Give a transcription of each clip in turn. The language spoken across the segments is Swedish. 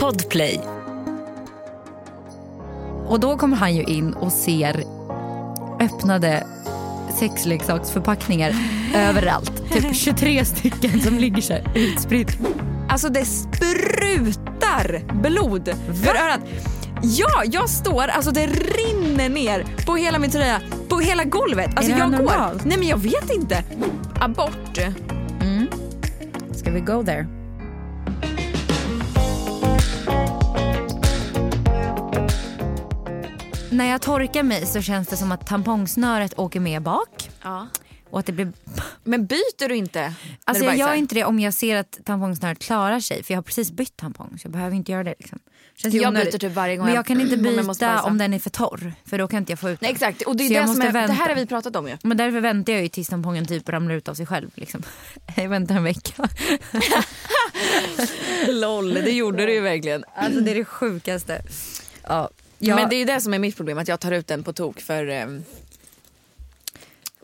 Podplay. Och då kommer han ju in och ser öppnade sexleksaksförpackningar överallt. Typ 23 stycken som ligger så här utspritt. Alltså det sprutar blod för örat. Ja, jag står, alltså det rinner ner på hela min tröja, på hela golvet. Alltså det här jag normalt? går. Nej men jag vet inte. Abort. Ska vi go there? När jag torkar mig så känns det som att tampongsnöret åker med bak Ja. och att det blir Men byter du inte? när Alltså du jag bajsar? gör inte det om jag ser att tampongsnöret klarar sig för jag har precis bytt tampong så jag behöver inte göra det. Liksom. Känns ju Jag onödigt. byter typ varje gång Men jag- jag kan inte om jag byta måste om, bajsa. den är för torr för då kan inte jag få ut Nej den. exakt, och det, Så är jag det, som måste är, det här vänta. har vi pratat om ju. Men därför väntar jag ju tills tampongen typ ramlar ut av sig själv. Liksom. Jag väntar en vecka. Loll, det gjorde du ju verkligen. Alltså det är det sjukaste. Ja. Jag, Men det är ju det som är mitt problem, att jag tar ut den på tok för ehm,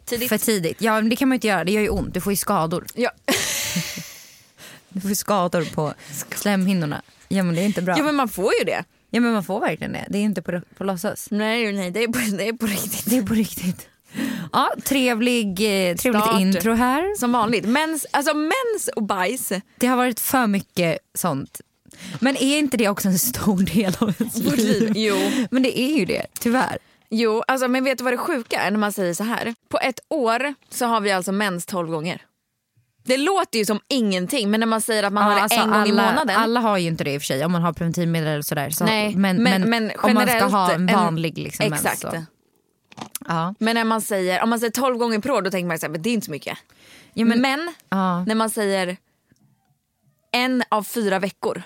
tidigt. För tidigt. Ja men det kan man ju inte göra, det gör ju ont. Du får ju skador. Ja. Du får ju skador på slemhinnorna. Ja men det är inte bra. ja men man får ju det. Ja men man får verkligen det. Det är inte på, på låtsas. Nej, nej det, är på, det är på riktigt. Det är på riktigt. Ja, trevlig, eh, trevligt Start. intro här. Som vanligt. Mens, alltså mens och bajs. Det har varit för mycket sånt. Men är inte det också en stor del av ens Vårt liv, jo. Men det är ju det, tyvärr. Jo, alltså, men vet du vad det sjuka är när man säger så här? På ett år så har vi alltså mens 12 gånger. Det låter ju som ingenting men när man säger att man har det Ja, alltså, en gång i alla- månaden. Alla har ju inte det i och för sig om man har preventivmedel eller sådär. Så, Nej, men, men, men- men om man ska generellt ha en en- vanlig liksom, mens Exakt. så- Ja. Men när man säger, om man säger 12 gånger per år då tänker man så här, men det är inte så mycket. Ja, men, men ja. när man säger en av fyra veckor.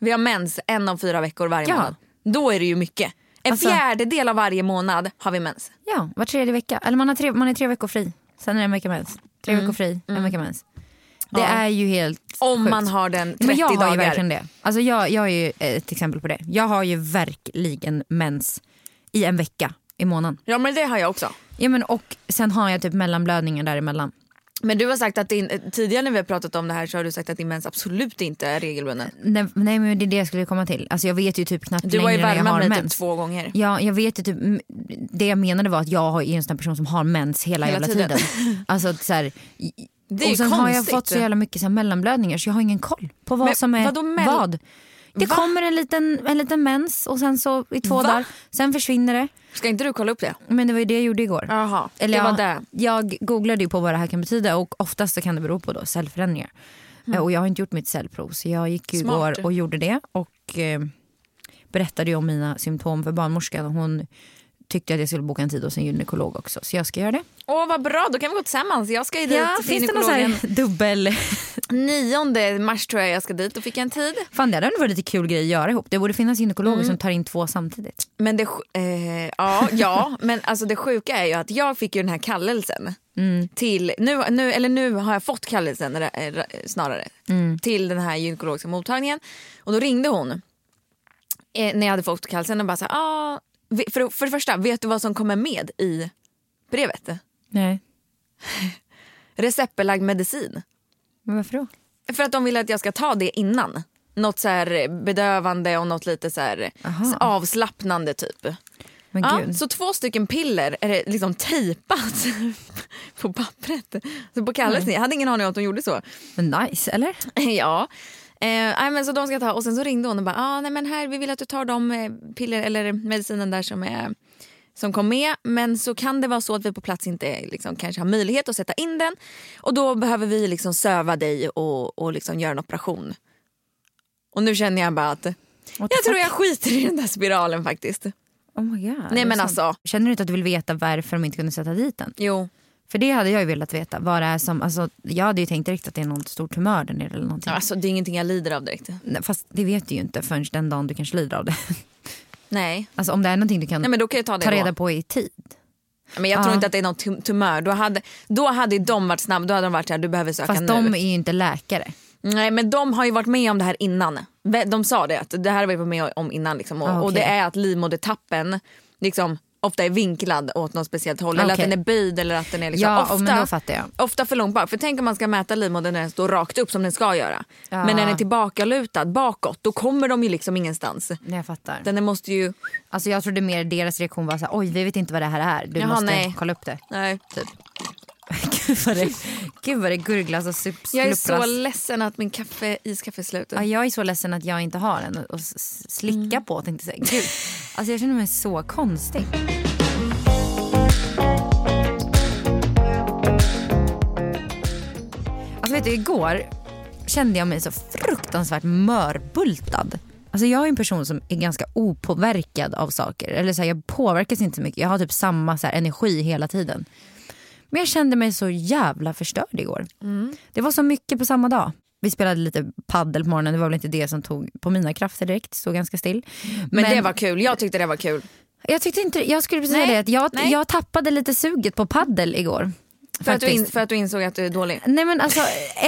Vi har mens en av fyra veckor varje Ja. månad. Då är det ju mycket. En Alltså- fjärdedel av varje månad har vi mens. ja, var tredje vecka. Eller man, har tre, man är tre veckor fri. Sen är det en vecka mens. Tre veckor fri, en vecka mens. Det Ja. är ju helt Om sjukt. man har den 30 Men jag har dagar. ju verkligen det. Alltså jag, jag är ju ett exempel på det. Jag har ju verkligen mens i en vecka i månaden. Ja men det har jag också. Ja, men och sen har jag typ mellanblödningar däremellan. Men du har sagt att din, tidigare när vi har pratat om det här så har du sagt att din mens absolut inte är regelbunden. Nej, nej men det är det jag skulle komma till. Alltså jag vet ju typ knappt Du har ju längre när jag värmat har mig mens. typ två gånger. Ja, jag vet ju typ, m- det jag menade var att jag är ju en sån här person som har mens hela, jävla Hela tiden. tiden. Alltså att så här, i- Det är och sen har jag konstigt. fått så jävla mycket så här mellanblödningar så jag har ingen koll på vad Men som är vadå mell- vad. Det Va? kommer en liten, en liten mens och sen så i två Va? dagar, sen försvinner det. Ska inte du kolla upp det? Men det var ju det jag gjorde igår. Jaha, Eller det var ja, det. Jag googlade ju på vad det här kan betyda och oftast så kan det bero på då cellförändringar. Eh, Och jag har inte gjort mitt cellprov så jag gick ju Mm. Smart. igår och gjorde det och eh, berättade ju om mina symptom för barnmorskan. Hon tyckte att jag skulle boka en tid hos en gynekolog också så jag ska göra det. Åh vad bra, då kan vi gå tillsammans. Jag ska ju dit till finns det någon så gynekologen. här dubbel... 9 mars tror jag jag ska dit, då fick jag en tid. Fan det hade ändå varit lite kul grej att göra ihop. Det borde finnas gynekologer Mm. som tar in två samtidigt. Men det, sj- eh, ja, ja, men alltså det sjuka är ju att jag fick ju den här kallelsen. Till, nu, nu, eller nu har jag fått kallelsen eh, eh, snarare till den här gynekologiska mottagningen. Och då ringde hon eh, när jag hade fått kallelsen och bara så här, ah, ve- för, för det första, vet du vad som kommer med i brevet? Nej, Receptbelagd medicin. men varför då? För att de vill att jag ska ta det innan. Något så här bedövande och något lite så här Aha. avslappnande typ. Men Ja, gud. så två stycken piller är det liksom tejpat på pappret. Så på Kalles, jag hade ingen aning om att de gjorde så. Men nice eller? ja. Eh, nej, men så de ska ta och sen så ringde hon och bara ah, nej men här vi vill att du tar de eh, piller eller medicinen där som är som kom med men så kan det vara så att vi på plats inte liksom, kanske har möjlighet att sätta in den och då behöver vi liksom söva dig och, och liksom göra en operation. Och nu känner jag bara att What the jag tror fuck? jag skiter i den där spiralen faktiskt. Oh my God, är Nej det men sant? alltså, Känner du inte att du vill veta varför de inte kunde sätta dit den? jo. För det hade jag ju velat veta. Vad det är som, alltså, jag hade ju tänkt direkt att det är någon stor tumör där nere eller någonting. Alltså det är ingenting jag lider av direkt. Nej, Fast det vet du ju inte förrän den dagen du kanske lider av det. Nej. Alltså om det är någonting du kan Nej men då kan jag ta det ta då. reda på i tid. Men jag tror Ja. inte att det är någon tum- tumör. Då hade, då hade ju de varit snabba. Då hade de varit såhär, du behöver söka Fast nu. de är ju inte läkare. Nej men de har ju varit med om det här innan. Vä- De sa det, att det här har vi varit med om innan. Liksom. Och, Ah, okej. och det är att livmodertappen liksom ofta är vinklad åt något speciellt håll. Eller att Okej. den är böjd eller att den är liksom Ja, ofta, men då fattar jag. ofta för långt bak. För tänk om man ska mäta livmodern när den står rakt upp som den ska göra. Ja. Men när den är tillbakalutad bakåt då kommer de ju liksom ingenstans. Nej, jag fattar. Den måste ju... Alltså, jag trodde mer deras reaktion var så här, oj vi vet inte vad det här är, du Jaha, måste nej. kolla upp det. Nej. Typ. Gud, vad det, gud vad det gurglas och sup- Jag är sluppras. så ledsen att min kaffe, iskaffe är slut. Ja, jag är så ledsen att jag inte har en att- att s- slicka på tänkte jag säga. Gud, alltså jag känner mig så konstig. Alltså vet du, igår kände jag mig så fruktansvärt mörbultad. Alltså jag är en person som är ganska opåverkad av saker. Eller så här, jag påverkas inte så mycket. Jag har typ samma så här, energi hela tiden. Men jag kände mig så jävla förstörd igår. Mm. Det var så mycket på samma dag. Vi spelade lite paddel på morgonen. Det var väl inte det som tog på mina krafter direkt. Stod ganska still. men, det var kul. Jag tyckte det var kul. Jag tyckte inte... Jag skulle precis säga Nej, det. Att jag, nej. jag tappade lite suget på paddel igår. För att, du in, faktiskt. för att du insåg att du är dålig. Nej men alltså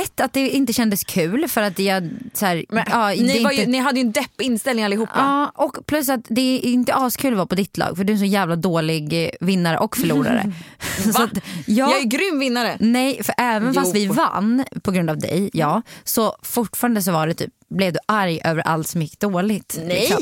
ett att det inte kändes kul för att jag så här, Men, ja, det ni, är var ju, inte- ni hade ju en deppig inställning allihopa. Ja, och plus att det är inte askul att vara på ditt lag för du är en så jävla dålig eh, vinnare och förlorare. så att, ja, Jag är grym vinnare. Nej, för även fast Jo. vi vann på grund av dig, ja, så fortfarande så var det typ, blev du arg över allt som gick dåligt. liksom.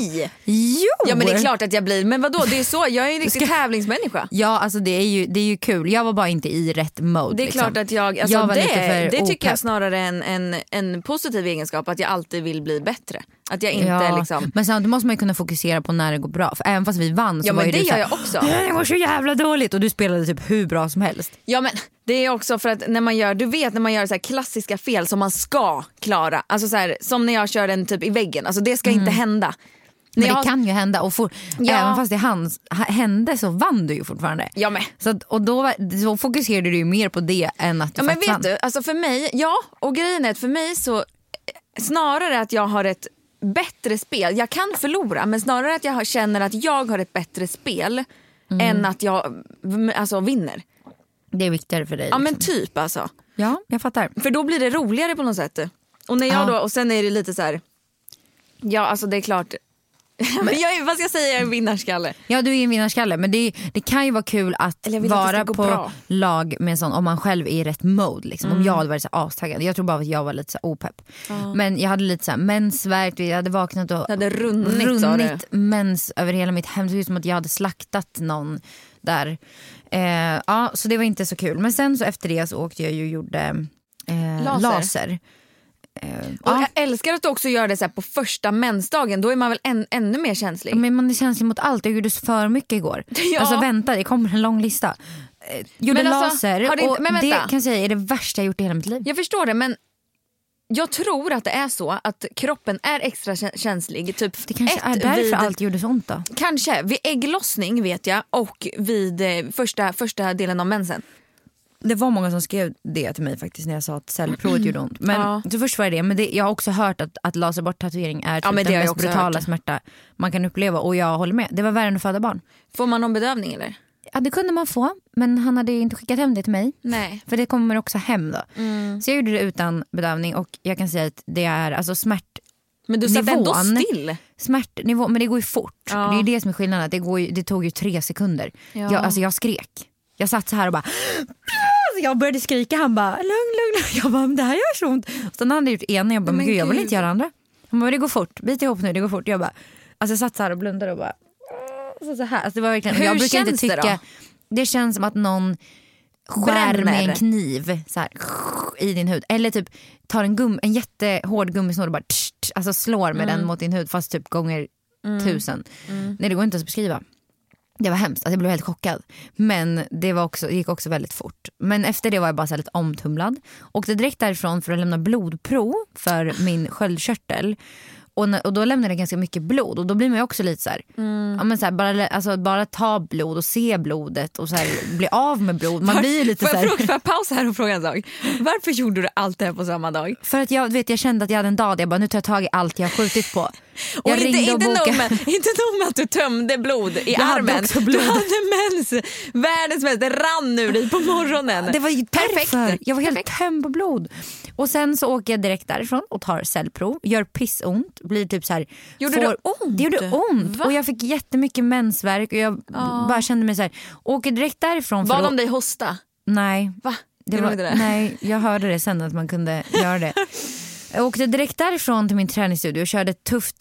Jo! Ja men det är klart att jag blir. Men vadå, det är så. Jag är en riktig tävlingsmänniska. Ja, alltså det är, ju, det är ju kul. Jag var bara inte i rätt mode. Det är liksom. klart att jag, alltså Jag var lite det, för det tycker jag opepp. snarare är en, en, en positiv egenskap, att jag alltid vill bli bättre. Att jag inte Ja, liksom... Men samtidigt måste man ju kunna fokusera på när det går bra. För även fast vi vann så Ja var ju men det du gör såhär, jag också. Det går så jävla dåligt och du spelade typ hur bra som helst. Ja men det är också för att när man gör, du vet när man gör så här klassiska fel som man ska klara. Alltså så här, som när jag kör en typ i väggen, alltså det ska inte hända. Mm. Men När jag- det kan ju hända och for, Ja. även fast det hans, ha- hände så vann du ju fortfarande. Ja, men. Så, att- och då, var- så fokuserade du ju mer på det än att du Ja, men faktiskt vet vann. du, alltså för mig, ja och grejen är att för mig så eh, snarare att jag har ett bättre spel, jag kan förlora men snarare att jag har- känner att jag har ett bättre spel än att jag mm, alltså, vinner. Det är viktigare för dig. Ja men liksom. typ alltså. ja jag fattar. För då blir det roligare på något sätt. Och, när jag Ja. då, och sen är det lite så här, ja alltså det är klart, men jag är, vad ska jag säga, jag är en vinnarskalle. Ja du är en vinnarskalle men det, det kan ju vara kul att Eller jag vill att det vara ska gå på bra. Mm. lag med en sån om man själv är i rätt mode. Liksom. Om jag hade varit så här astaggad, jag tror bara att jag var lite så här opepp. Men jag hade lite så här mensvärk, jag hade vaknat och hade runnit, Mm, sa du. mens över hela mitt hem. Det såg ut som att jag hade slaktat någon där. Eh, ja, så det var inte så kul. Men sen så efter det så åkte jag ju och gjorde eh, Laser. laser. Eh, Och ja. jag älskar att du också gör det så här på första mensdagen, då är man väl än, ännu mer känslig. Ja, Men man är känslig mot allt. Jag gjorde så för mycket igår. Ja. Alltså vänta, det kommer en lång lista. Eh, Gjorde Men alltså, laser har det inte- och men det vänta. kan jag säga är det värsta jag gjort i hela mitt liv. Jag förstår det men jag tror att det är så att kroppen är extra kä- känslig. Typ Det kanske ett, är därför vid, allt gjorde så ont då. Kanske. Vid ägglossning vet jag och vid eh, första, första delen av mensen. Det var många som skrev det till mig faktiskt när jag sa att cellprovet gjorde ont. Men Ja. så först var det det. Men det, jag har också hört att, att laser bort tatuering är typ men det har den jag mest också brutala hört. smärta man kan uppleva. Och jag håller med. Det var värre än att föda barn. Får man någon bedövning eller? Ja det kunde man få men han hade ju inte skickat hem det till mig. Nej. För det kommer också hem då. Så jag gjorde det utan bedövning och jag kan säga att det är alltså smärt Men du satt ändå Nivån. still. smärtnivå, men det går ju fort. Ja. Det är ju det som är skillnaden, att det, går ju, det tog ju tre sekunder. Ja. Jag, alltså jag skrek. Jag satt så här och bara Alltså, jag började skrika, han bara lugn, lugn, lugn. Jag bara, men det här gör så ont. Och sen hade han gjort ena, jag bara, men, Men gud jag vill gud. inte göra andra. Han bara, men det går fort, bit ihop nu, det går fort. Jag bara, alltså jag satt så här och blundade och bara, så, så här. Alltså, det var verkligen, och Hur jag brukar känns inte det tycka, det, känns som att någon skär med Bränner. en kniv så här, i din hud. Eller typ tar en, gum, en jättehård gummisnodd och bara tsch, tsch, alltså slår med den mot din hud fast typ gånger tusen. Nej det går inte ens att beskriva. Det var hemskt, alltså jag blev helt chockad. Men det, var också, det gick också väldigt fort. Men efter det var jag bara så här lite omtumlad. Åkte direkt därifrån för att lämna blodprov för min sköldkörtel. Och, när, och då lämnade jag ganska mycket blod och då blir man ju också lite så här, Mm. ja, men så här bara, lä- alltså, bara ta blod och se blodet och så här, bli av med blod. Man blir ju lite får, så jag här, fråga, får jag pausa här och fråga en sak? Varför gjorde du allt det här på samma dag? För att jag, du vet, jag kände att jag hade en dag där jag bara nu tar jag tag i allt jag har skjutit på. Och Jag inte, ringde och inte, nog bokade. med, inte nog med att du tömde blod i hade armen. också blod. Du hade mens. Världens mens. Det rann ur dig på morgonen. Det var ju Perfekt. därför. Jag var helt tömd på blod. Och sen så åker jag direkt därifrån och tar cellprov, gör pissont, blir typ så här, Gjorde det ont? Det gjorde ont Va? och jag fick jättemycket mensvärk och jag b- bara kände mig så här, åker direkt därifrån för Bad att- de dig hosta? Nej. Va? Det Gjorde var, de inte det? Nej, jag hörde det sen att man kunde göra det. Jag åkte direkt därifrån till min träningsstudio och körde ett tufft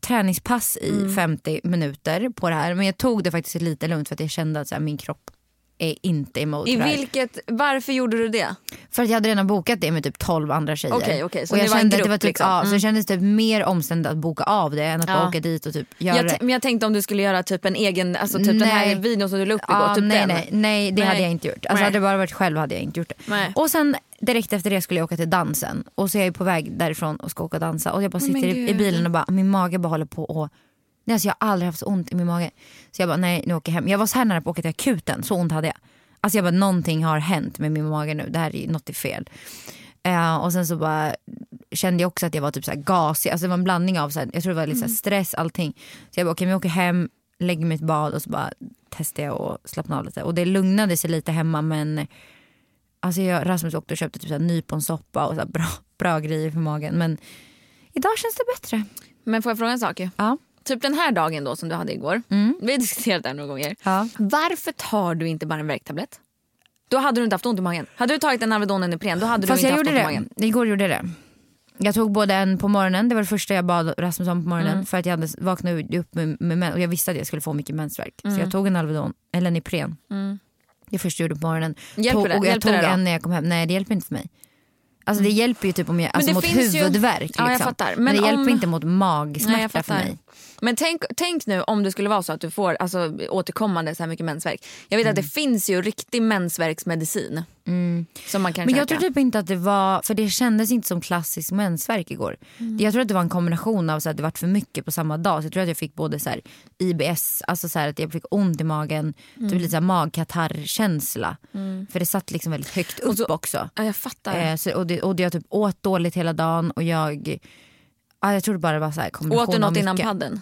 träningspass i Mm. 50 minuter på det här. Men jag tog det faktiskt lite lugnt för att jag kände att så här, min kropp är inte emot I det här. vilket, varför gjorde du det? För att jag hade redan bokat det med typ 12 andra tjejer. Okej, okej, så och ni jag var en kände att grupp, det var typ, liksom. ja, så det kändes typ mer omständigt att boka av det än att Ja. bara åka dit och typ göra Jag, det. t- men jag tänkte om du skulle göra typ en egen, alltså typ den här Nej. videon som du la upp igår. Ja, typ nej, den. nej, nej, det Nej. hade jag inte gjort. Alltså, Nej. hade det bara varit själv hade jag inte gjort det. Nej. Och sen direkt efter det skulle jag åka till dansen och så är jag på väg därifrån och ska åka och dansa och jag bara Men sitter i, i gud. bilen och bara, min mage bara håller på och Nej, alltså jag har aldrig haft så ont i min mage. Så jag bara, nej nu åker jag hem. Jag var så här nära på att åka till akuten, så ont hade jag. Alltså jag bara, någonting har hänt med min mage nu. Det här är något är fel. Eh, och sen så bara kände jag också att jag var typ så här gasig. Alltså det var en blandning av, så här, jag tror det var lite så Mm. här stress, allting. Så jag bara, okej men jag åker hem, lägger mig i ett bad och så bara testar jag och slappnar av lite. Och det lugnade sig lite hemma men Alltså jag, Rasmus åkte och köpte typ så här nyponsoppa och så här bra, bra grejer för magen. Men idag känns det bättre. Men får jag fråga en sak? ju? Ja. Typ den här dagen då som du hade igår. Mm. Vi har diskuterat det här några gånger. Ja. Varför tar du inte bara en värktablett? Då hade du inte haft ont i magen. Hade du tagit en Alvedon eller Ipren då hade Fast du inte jag haft gjorde ont i det. magen. Igår gjorde jag det. Jag tog både en på morgonen, det var det första jag bad Rasmus om på morgonen Mm. för att jag hade vaknat upp med, med mens, och jag visste att jag skulle få mycket mensvärk. Mm. Så jag tog en Alvedon, eller en Ipren. Det första jag gjorde på morgonen. Hjälper tog, det? Och jag Hjälper tog det då? Mm. en när jag kom hem. Nej det hjälper inte för mig. Alltså det hjälper ju typ om jag, alltså det mot finns ju- huvudvärk. Liksom. Ja, jag fattar. Men, Men det om- hjälper inte mot Nej, jag magsmärta för fattar. mig. Men tänk, tänk nu om det skulle vara så att du får alltså, återkommande så här mycket mensvärk. Jag vet att Mm. det finns ju riktig mensvärksmedicin. Som man kan Men jag käka. tror typ inte att det var, för det kändes inte som klassisk mensvärk igår. Mm. Jag tror att det var en kombination av så att det var för mycket på samma dag. Så jag tror att jag fick både så här IBS, alltså så här att jag fick ont i magen, Mm. typ lite så här magkatarrkänsla. För det satt liksom väldigt högt upp också. Ja, jag fattar. Eh, så, och, det, och det jag typ åt dåligt hela dagen och jag, ja, jag tror det bara var så här kombination Åt du något av innan mycket. padden?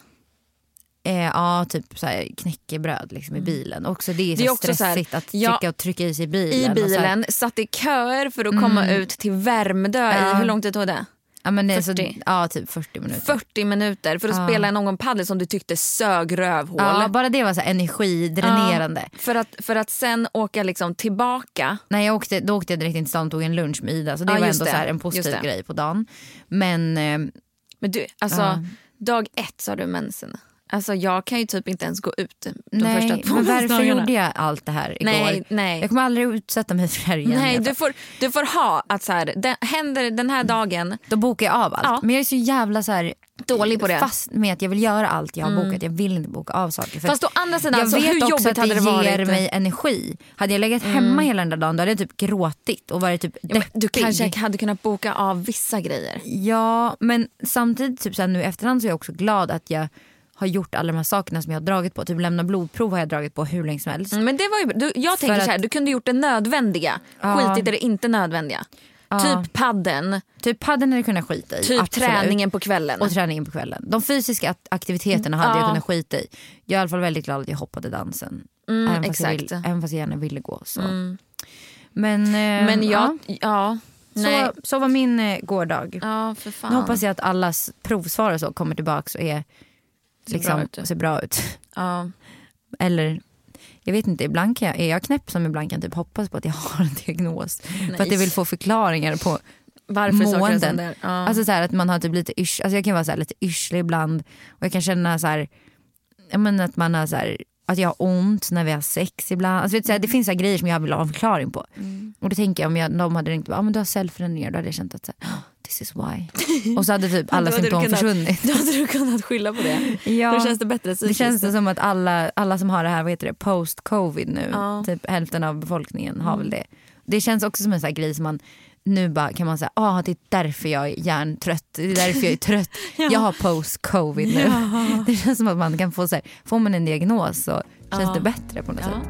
Eh, ja, typ så här knäckebröd liksom i bilen. Och också det är, så Mm. Det är här också så här, stressigt att ja, trycka och trycka i sig i I bilen. och så här- bilen, satt i köer för att komma ut till Värmdö Ja. i, hur lång tid tog det? ja, men det är 40. Så, ja, typ 40 minuter. 40 minuter för att spela någon padel som du tyckte sög rövhål. Ja, bara det var så här energidränerande. För, att, för att sen åka liksom tillbaka. När jag åkte, då åkte jag direkt in till stan och tog en lunch med Ida. Så det Ja, var just ändå det. Så här en Just positiv det. grej på dagen. Men eh, Men du, alltså, Ja. Dag ett så har du mensen. Alltså, jag kan ju typ inte ens gå ut de första nej, två men varför mensdagarna. gjorde jag allt det här igår? Nej, nej. Jag kommer aldrig utsätta mig för det här igen. Nej, jag du får, du får ha att så här, den, händer den här dagen, Då bokar jag av allt. Ja. Men jag är så jävla så här, Dålig på det. Mm. fast med att jag vill göra allt jag har bokat. Jag vill inte boka av saker. För Fast å att andra sidan, jag alltså, vet hur också jobbigt att det hade det varit? Mm. ger mig energi. Hade jag legat hemma hela den där dagen då hade jag typ gråtit och varit typ Ja, men du deppig. kanske hade kunnat boka av vissa grejer. Ja, men samtidigt typ så här, nu i efterhand så är jag också glad att jag har gjort alla de här sakerna som jag har dragit på. Typ lämna blodprov har jag dragit på hur länge som helst. Mm, Men det var ju, du, jag tänker att- så här, du kunde gjort det nödvändiga. Skitit i det inte nödvändiga. Typ padden, Typ padden hade jag kunnat skita i. typ absolut. träningen på kvällen. Och träningen på kvällen. De fysiska at- aktiviteterna hade jag Mm, Ja. kunnat skita i. Jag är i alla fall väldigt glad att jag hoppade dansen. även, fast jag vill, Mm, exakt. Mm. även fast jag gärna ville gå. Så. Men, eh, Men ja, jag, ja. nej. så, så var min eh, gårdag. Ja, för fan. Nu hoppas jag att allas provsvar och så kommer tillbaka och är, liksom, ut, ja. ser bra ut. Ja. Eller jag vet inte, ibland kan jag, är jag knäpp som ibland kan jag typ hoppas på att jag har en diagnos. För att jag vill få förklaringar på Varför saker är som måenden. det är. Ja. Alltså så här att man har typ lite yrs, alltså jag kan vara så här lite yrslig ibland och jag kan känna så här, jag menar att man har så här, att jag har ont när vi har sex ibland. Alltså vet du, så här, Mm. det finns så här grejer som jag vill ha en förklaring på. Och då tänker jag om jag, de hade ringt och bara, ah, men du har cellförändringar, då hade jag känt att så här, "Oh, this is why. Och så hade typ alla Då hade du symptom kunnat- försvunnit. Då hade du kunnat skylla på det. Ja. Då känns det bättre Det psykiskt. känns det som att alla, alla som har det här, vad heter det, post covid nu, typ hälften av befolkningen har Mm. väl det. Det känns också som en sån här grej som man nu bara kan man säga, ah det är därför jag är hjärntrött, det är därför jag är trött, jag har post covid nu. Det känns som att man kan få så här, får man en diagnos så känns det bättre på något Ja. sätt.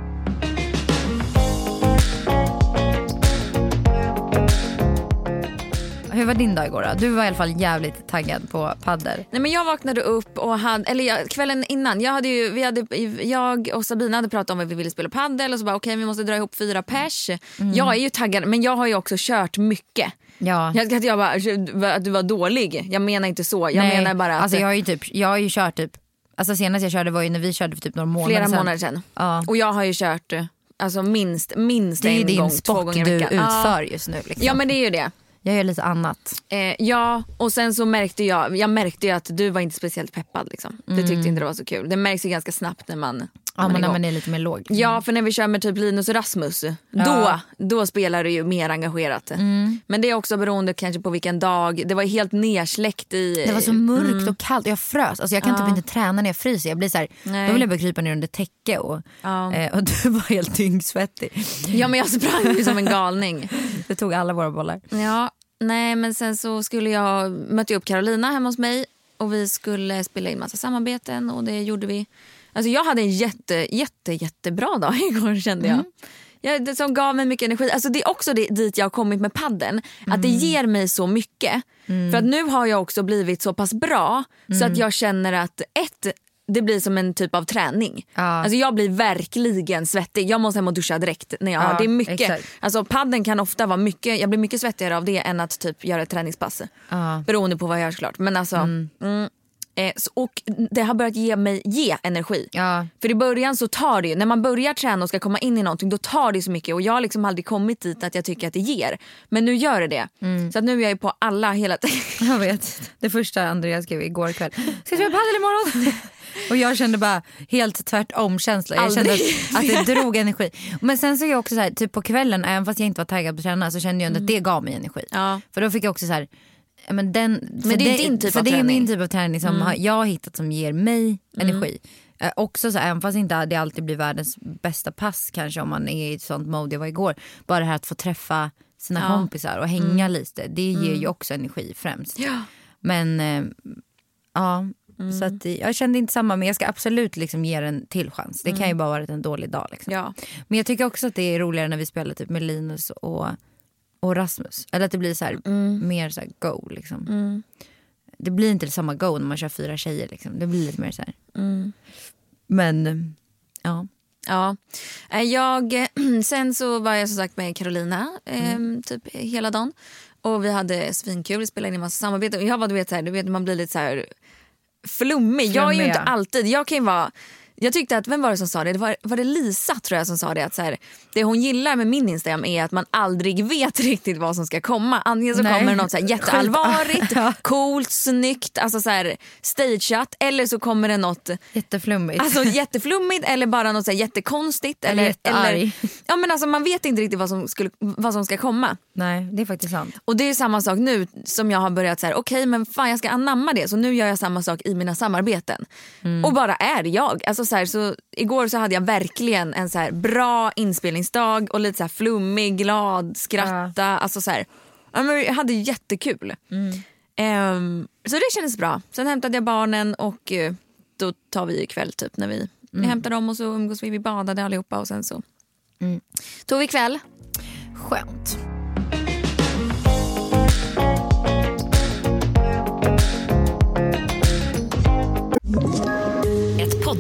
Hur var din dag igår då? Du var i alla fall jävligt taggad på padder. Nej, men jag vaknade upp och han, eller jag, kvällen innan, jag, hade ju, vi hade, jag och Sabina hade pratat om att vi ville spela Mm. padel och så bara okej vi måste dra ihop fyra pers. Jag är ju taggad men jag har ju också kört mycket. Ja. Jag, att jag bara, att du var dålig. Jag menar inte så. Jag menar bara att alltså jag har ju typ, jag har ju kört typ, alltså senast jag körde var ju när vi körde för typ några månader flera sedan. månader sedan. Ja. Och jag har ju kört eh, alltså, minst, minst Det är ju en din gång, två sport gånger du i veckan. utför Ja. just nu. Liksom. ja men det är ju det. Jag gör lite annat. Eh, ja, och sen så märkte jag, jag märkte ju att du var inte speciellt peppad. Liksom. Du tyckte inte det var så kul. Det märks ju ganska snabbt när man, när Mm. Ja, men man är när igång. man är lite mer låg. Ja, för när vi kör med typ Linus och Rasmus, då, då spelar det ju mer engagerat. Mm. Men det är också beroende kanske på vilken dag. Det var ju helt nersläckt i... Det var så mörkt och kallt och jag frös. Alltså jag kan typ inte träna när jag fryser. Jag blir så här, Nej. då vill jag bara krypa ner under täcke och, Ja. eh, och du var helt dyngsvettig. Ja, men jag sprang ju som en galning. Det tog alla våra bollar. Ja, nej men sen så skulle jag mötte jag upp Carolina hemma hos mig och vi skulle spela in massa samarbeten och det gjorde vi. Alltså jag hade en jätte, jätte, jättebra dag igår kände jag. jag det som gav mig mycket energi. Alltså det är också det, dit jag har kommit med padden. Att det ger mig så mycket. För att nu har jag också blivit så pass bra så att jag känner att ett, det blir som en typ av träning. Ja. Alltså jag blir verkligen svettig. Jag måste hem och duscha direkt när jag Ja, har. Det är mycket. exakt. Alltså padden kan ofta vara mycket, jag blir mycket svettigare av det än att typ göra ett träningspass. Ja. Beroende på vad jag gör såklart. Men alltså, mm. Eh, så- och det har börjat ge mig ge energi. Ja. För i början så tar det ju, när man börjar träna och ska komma in i någonting då tar det så mycket och jag har liksom aldrig kommit dit att jag tycker att det ger. Men nu gör det det. Så att nu är jag ju på alla hela tiden. Jag vet. Det första Andreas skrev igår kväll. Ska vi spela padel imorgon? Och jag kände bara helt tvärtom känsla. Jag kände att, Aldrig. att det drog energi. Men sen så är jag också så här, typ på kvällen, även fast jag inte var taggad på att träna så kände jag ändå att det gav mig energi. Ja. För då fick jag också så här, ja, men, den, för det är din typ för av det är träning. Mm. min typ av träning som har, jag har hittat som ger mig energi. Eh, också så här, även fast inte det alltid blir världens bästa pass kanske om man är i ett sånt mode jag var igår. Bara det här att få träffa sina kompisar och hänga Mm. lite. Det ger ju också energi främst. Men eh, ja, så Mm. att eh, jag kände inte samma men jag ska absolut liksom ge den en till chans. Det Mm. kan ju bara ha varit en dålig dag. Liksom. Ja. Men jag tycker också att det är roligare när vi spelar typ med Linus och, och Rasmus. Eller att det blir så här, Mm. mer så här go. Liksom. Det blir inte samma go när man kör fyra tjejer. Liksom. Det blir lite mer så här. Mm. Men ja. Ja. Eh, Jag, sen så var jag som sagt med Carolina eh, Mm. typ hela dagen. Och Vi hade svinkul, spelade in en massa samarbeten. Och Jag var, du vet, så här, du vet, man blir lite så här flummig. Jag är ju Flummig, inte ja. alltid... Jag kan ju vara... Jag tyckte att, vem var det som sa det? Det var, var det Lisa tror jag som sa det att så här, det hon gillar med min Instagram är att man aldrig vet riktigt vad som ska komma. Antingen så Nej. kommer det något så här jätteallvarigt, Ja. coolt, snyggt, alltså så här stageat eller så kommer det något Jätteflummigt. Alltså jätteflummigt eller bara något så här jättekonstigt. Eller, Eller jättearg. ja, men alltså, man vet inte riktigt vad som, skulle, vad som ska komma. Nej, det är faktiskt sant. Och det är samma sak nu som jag har börjat så här, okej men fan jag ska anamma det. Så nu gör jag samma sak i mina samarbeten. Och bara är jag. Alltså, så här, så, igår så hade jag verkligen en så här, bra inspelningsdag och lite så här, flummig, glad, skratta. Alltså, så här, ja, men jag hade jättekul. Ehm, så det kändes bra. Sen hämtade jag barnen och eh, då tar vi ikväll typ när vi jag hämtar dem och så umgås vi. Vi badade allihopa och sen så tog vi kväll. Skönt. Ett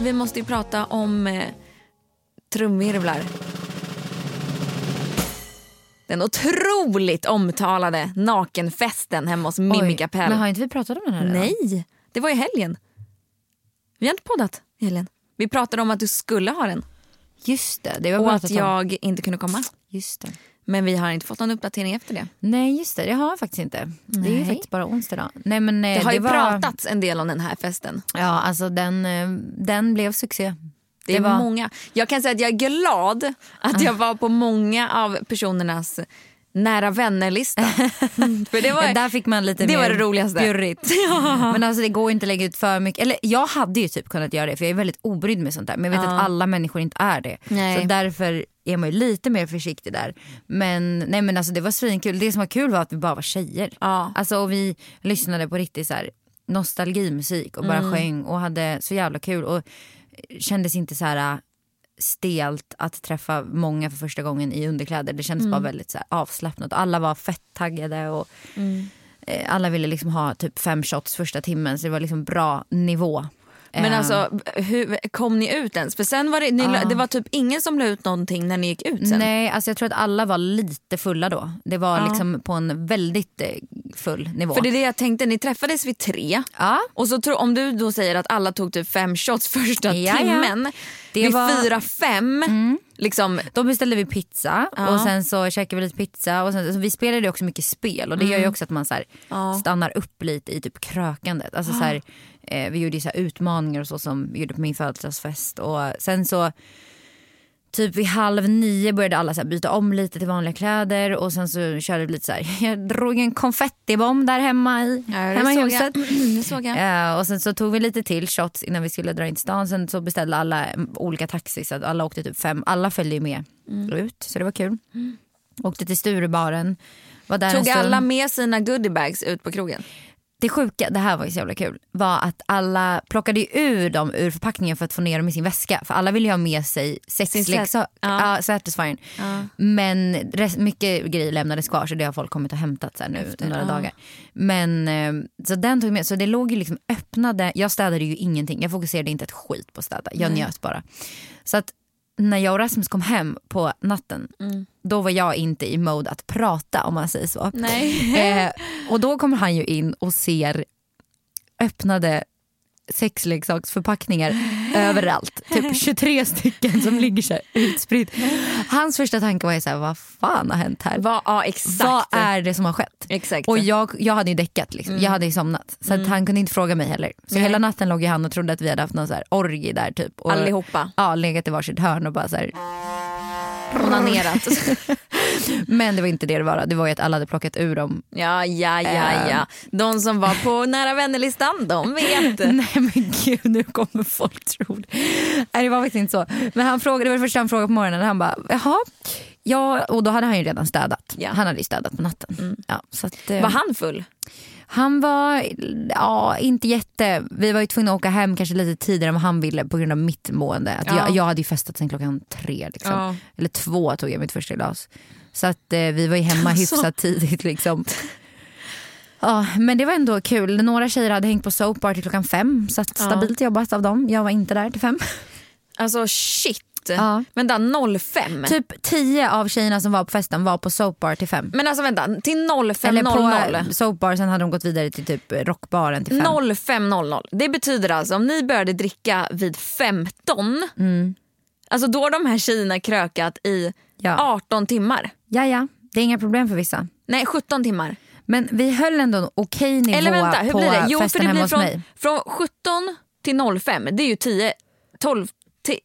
Vi måste ju prata om eh, trumvirvlar. Den otroligt omtalade nakenfesten hemma hos Mimmi Oj, Kapell. Men har inte vi pratat om den här redan? Nej, det var i helgen. Vi har inte poddat i helgen. Vi pratade om att du skulle ha den Just det, det var och att pratat om. jag inte kunde komma. Just det. Men vi har inte fått någon uppdatering efter det. Nej just det, det har jag faktiskt inte. Det är ju Nej. faktiskt bara onsdag idag. Nej, men, eh, Det har ju var... pratats en del om den här festen. Ja, alltså den, eh, den blev succé. Det är Ah. många. Jag kan säga att jag är glad att jag var på många av personernas nära vänner-lista. För det var, Där fick man lite det mer var det roligaste. bjurrigt. Men alltså det går ju inte att lägga ut för mycket. Eller jag hade ju typ kunnat göra det för jag är väldigt obrydd med sånt där. Men jag vet att alla människor inte är det. Nej. Så därför är man ju lite mer försiktig där. Men nej men alltså det var svinkul. Det som var kul var att vi bara var tjejer. Ja. Alltså och vi lyssnade på riktigt så här nostalgimusik och bara Mm. sjöng och hade så jävla kul. Och kändes inte så här äh, stelt att träffa många för första gången i underkläder. Det kändes Mm. bara väldigt så här avslappnat. Alla var fett taggade och eh, alla ville liksom ha typ fem shots första timmen så det var liksom bra nivå. Men Eh, alltså, hur, kom ni ut ens? För sen var det, ni, la- det var typ ingen som la ut någonting när ni gick ut sen. Ah. Nej, alltså jag tror att alla var lite fulla då. Det var liksom på en väldigt eh, full nivå. För det är det jag tänkte, ni träffades vid tre. Ja. Och så tror, om du då säger att alla tog typ fem shots första Ja, ja. timmen. Det vid var- Mm. fyra, fem. Liksom, Då beställde vi pizza och sen så käkade vi lite pizza. Och sen, så vi spelade ju också mycket spel och det gör ju också att man så här, stannar upp lite i typ krökandet. Alltså, så här, eh, vi gjorde ju så här utmaningar och så som vi gjorde på min födelsedagsfest. Och sen så typ vid halv nio började alla så här byta om lite till vanliga kläder och sen så körde vi lite så här, jag drog en konfettibomb där hemma i, hemma i huset. Det såg jag. Eh, och sen så tog vi lite till shots innan vi skulle dra in till stan. Sen så beställde alla mm, olika taxi så att alla åkte typ fem. Alla följde ju med Mm. ut så det var kul. Åkte till Sturebaren. Var där en Tog stund. alla med sina goodiebags ut på krogen? Det sjuka, det här var ju så jävla kul, var att alla plockade ju ur dem ur förpackningen för att få ner dem i sin väska. För alla ville ju ha med sig Sin sat- sexleksaker. ja. Ja. satisfying. Men res- mycket grejer lämnades kvar så det har folk kommit och hämtat så här nu några dagar. Men eh, så den tog jag med, så det låg ju liksom öppnade, jag städade ju ingenting. Jag fokuserade inte ett skit på att städa, jag njöt bara. Så att när jag och Rasmus kom hem på natten, Mm. då var jag inte i mode att prata om man säger så. Nej. Eh, och då kommer han ju in och ser öppnade sexleksaksförpackningar överallt. Typ 23 stycken som ligger så här utspritt. Hans första tanke var ju så här, vad fan har hänt här? Va, ja, exakt. Vad är det som har skett? Exakt. Mm. Och jag, jag hade ju däckat, liksom. jag hade ju somnat. Så att han kunde inte fråga mig heller. Så hela natten låg ju han och trodde att vi hade haft någon så här orgie där typ. Och, Allihopa. Ja, legat i varsitt hörn och bara så här, Onanerat. Men det var inte det det var, det var ju att alla hade plockat ur dem. ja, ja, ja, Ehm. ja. De som var på nära vännerlistan, de vet. Nej men gud, nu kommer folk tro det. Nej det var faktiskt inte så. Men han frågade, det var det första han frågade på morgonen. Han bara, jaha? Ja, och då hade han ju redan städat. Ja. Han hade ju städat på natten. Ja, så att, eh, Var han full? han var, ja inte jätte, vi var ju tvungna att åka hem kanske lite tidigare än vad han ville på grund av mitt mående. Att Ja. jag, jag hade ju festat sen klockan tre, liksom. Ja. eller två tog jag mitt första glas. Så att eh, vi var ju hemma hyfsat Alltså. tidigt liksom. Ja, men det var ändå kul. Några tjejer hade hängt på Soap Bar till klockan fem. Så att stabilt jobbat av dem. Jag var inte där till fem. Alltså shit. Ja. Vänta, 05? Typ tio av tjejerna som var på festen var på Soap Bar till fem. Men alltså vänta, till Eller på 05.00. Soap Bar, sen hade de gått vidare till typ Rockbaren till fem. 05.00. Det betyder alltså om ni började dricka vid 15, Mm. alltså då har de här tjejerna krökat i Ja. 18 timmar. Ja, ja. Det är inga problem för vissa. Nej 17 timmar. Men vi höll ändå en okej nivå Eller vänta, hur på blir det? Jo, för festen det hemma blir hos från, mig. från 17 till 05, det är ju 10, 12, 10.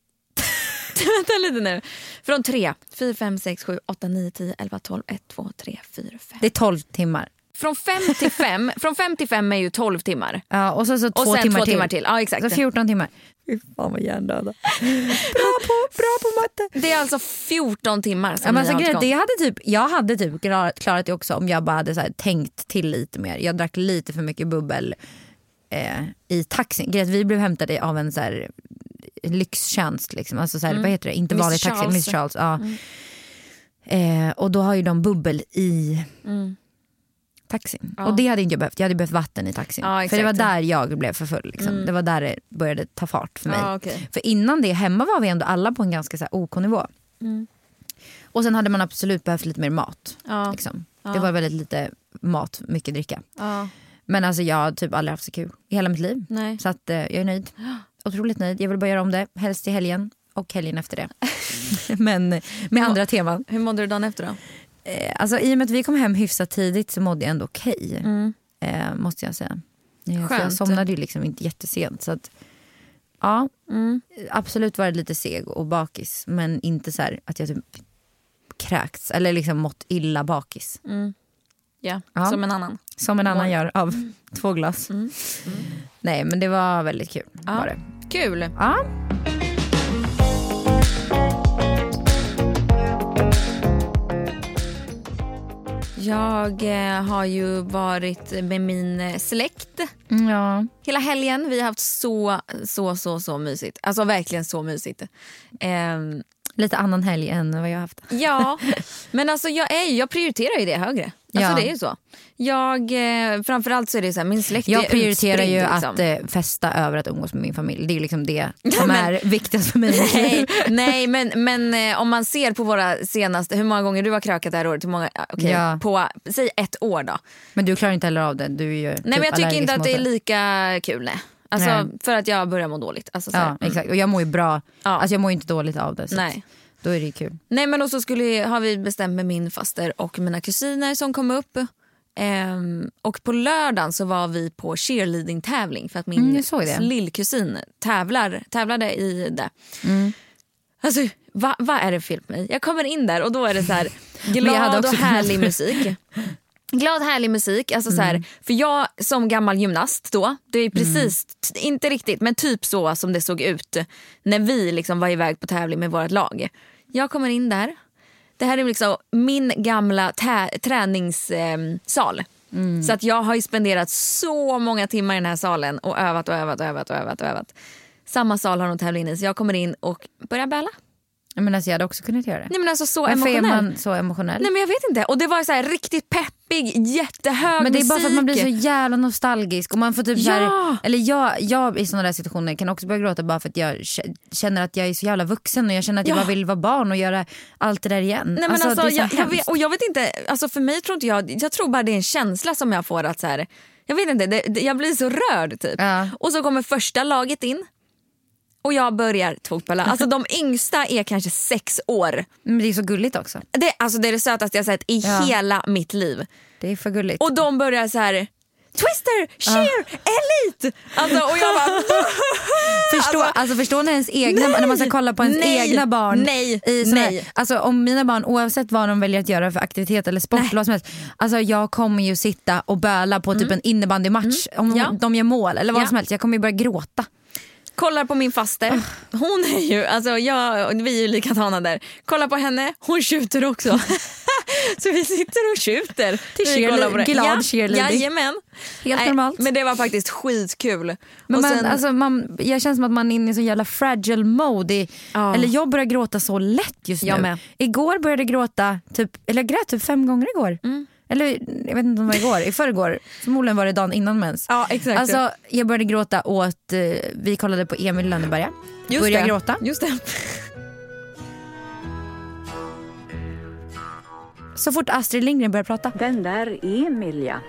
Vänta lite nu. Från 3, 4, 5, 6, 7, 8, 9, 10, 11, 12, 1, 2, 3, 4, 5. Det är 12 timmar. Från 5 till 5, från 5 till 5 är ju 12 timmar. Ja, och så, så Och två sen timmar två till. timmar till. Ja, exakt. Så 14 timmar. Fy fan vad hjärndöda. bra, på, bra på matte. Det är alltså 14 timmar som Ja, men ni alltså, har grejen, haft är, det hade typ, jag hade typ klarat, klarat det också om jag bara hade så här, tänkt till lite mer. Jag drack lite för mycket bubbel eh, i taxin. Grejen, är att vi blev hämtade av en så här, lyxtjänst. Liksom. Alltså, så här, Vad heter det? Inte Mm. Miss vanlig taxi. Charles. Mm. Miss Charles. Ja. Eh, och då har ju de bubbel i taxin. Och det hade inte jag behövt. Jag hade behövt vatten i taxin. Ja, för det var exakt. där jag blev för full. Liksom. Det var där det började ta fart för mig. Ja, Mm. Ah, okej. För innan det, hemma var vi ändå alla på en ganska så här, OK nivå. Mm. Och sen hade man absolut behövt lite mer mat. Ja. Liksom. Det var väldigt lite mat, mycket dricka. Ja. Men alltså jag har typ aldrig haft så kul i hela mitt liv. Nej. Så att eh, jag är nöjd. Otroligt nöjd. Jag vill bara göra om det. Helst till helgen och helgen efter det. Men eh, med andra teman. Hur mådde du dagen efter då? Eh, Alltså, I och med att vi kom hem hyfsat tidigt så mådde jag ändå okej. Eh, måste jag säga. Eh, för Jag Skönt. somnade ju liksom inte jättesent. Så att, ja, absolut var det lite seg och bakis. Men inte så här att jag typ kräkts eller liksom mått illa bakis. Ja, Ja. som en annan. Som en annan gör av två glas. Nej men det var väldigt kul. Var det. Kul! Ja. Jag eh, har ju varit med min eh, släkt Ja. hela helgen. Vi har haft så, så, så, så mysigt. Alltså verkligen så mysigt. Ehm, Lite annan helg än vad jag haft. ja, men alltså jag, är, ju- jag prioriterar ju det högre. Alltså Ja. det är ju så. Jag, eh, framförallt så är det så här, min släkt är Jag prioriterar ju utspridd, att liksom. eh, festa över att umgås med min familj. Det är ju liksom det som är viktigast för mig. Nej, nej men, men eh, om man ser på våra senaste, hur många gånger du har krökat det här året, hur många, okej, Ja. på säg ett år då. Men du klarar inte heller av det. Du är ju Nej, typ Nej men jag tycker allergisk inte att mot det är lika kul nej. Alltså, Nej. För att jag börjar må dåligt. Alltså, så här. Ja, Mm. exakt. Och jag mår ju bra. Ja. Alltså jag mår ju inte dåligt av det. Så Nej. att Då är det ju kul. Nej men och så skulle, har vi bestämt med min faster och mina kusiner som kom upp. Ehm, och på lördagen så var vi på cheerleading tävling för att min Mm, jag såg det. lillkusin tävlar, tävlade i det. Mm. Alltså va- vad är det fel på mig? Jag kommer in där och då är det så här jag hade glad också och kunnat- härlig musik. Glad härlig musik. Alltså så Mm. här, För jag som gammal gymnast då, det är precis, t- inte riktigt men typ så som det såg ut när vi liksom var iväg på tävling med vårt lag. Jag kommer in där. Det här är liksom min gamla tä- träningssal. Mm. Så att jag har ju spenderat så många timmar i den här salen och övat och övat och övat och övat. Och övat. Samma sal har de tävlat in i så jag kommer in och börjar böla. Jag, menar, alltså, jag hade också kunnat göra det. Nej men alltså så Varför är emotionell. man så emotionell? Nej men jag vet inte. Och det var så här riktigt peppig, jättehög men det är bara för att man blir musik. så jävla nostalgisk. Och man får typ så här, Ja! eller jag, jag i sådana där situationer kan också börja gråta bara för att jag k- känner att jag är så jävla vuxen och jag känner att jag Ja. bara vill vara barn och göra allt det där igen. Nej, men alltså, det är jag, så jag vet, hemskt. och jag vet inte, alltså för mig tror inte jag, jag tror bara det är en känsla som jag får att så här, jag vet inte, det, det, jag blir så rörd typ. Ja. Och så kommer första laget in och jag börjar tokballa. Alltså de yngsta är kanske sex år. Men det är så gulligt också. Det, alltså, det är det sötaste jag sett i Ja. hela mitt liv. Det är för gulligt. Och de börjar så här Twister, Cheer, Elite! Alltså, och jag bara Förstå, alltså, Alltså- förstå när ens egna, Nej! när man ska kolla på ens Nej! egna barn. Nej! I såna- Nej! Alltså om mina barn, oavsett vad de väljer att göra för aktivitet eller sport, eller vad som helst, alltså jag kommer ju sitta och böla på typ en innebandymatch om Mm. Ja. de gör mål eller vad Ja. som helst. Jag kommer ju börja gråta. kollar på min faster. Ah. Hon är ju, alltså jag, vi är ju likadana där. Kollar på henne, hon tjuter också. så vi sitter och tjuter. Till när vi kollar på det. cheerle- glad ja, cheerleading. Jajamän. Helt Nej, normalt. Men det var faktiskt skitkul. Men och man, sen, alltså, man, jag känner som att man är inne i så jävla fragile mode. I, Ja. Eller jag börjar gråta så lätt just Jag nu. med. Igår började jag gråta, typ, eller jag grät typ fem gånger igår. Mm. Eller jag vet inte om det var igår, i förrgår. Förmodligen var det dagen innan mens. ja, exakt. Alltså, jag började gråta åt, eh, vi kollade på Emil i Lönneberga. Just började det. gråta. Just det. Så fort Astrid Lindgren började prata. Den där Emilia,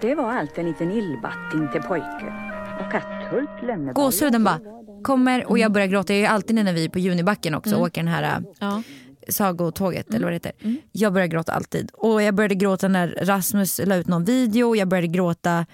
det var allt en liten illbatting till pojke. Och katthult lämnade Gåshuden bara kommer och jag börjar gråta. Jag är alltid när vi är på Junibacken också och åker den här eh, Mm. Ja. Mm. sagotåget eller vad det heter. Jag börjar gråta alltid. Och jag började gråta när Rasmus la ut någon video. Jag började gråta.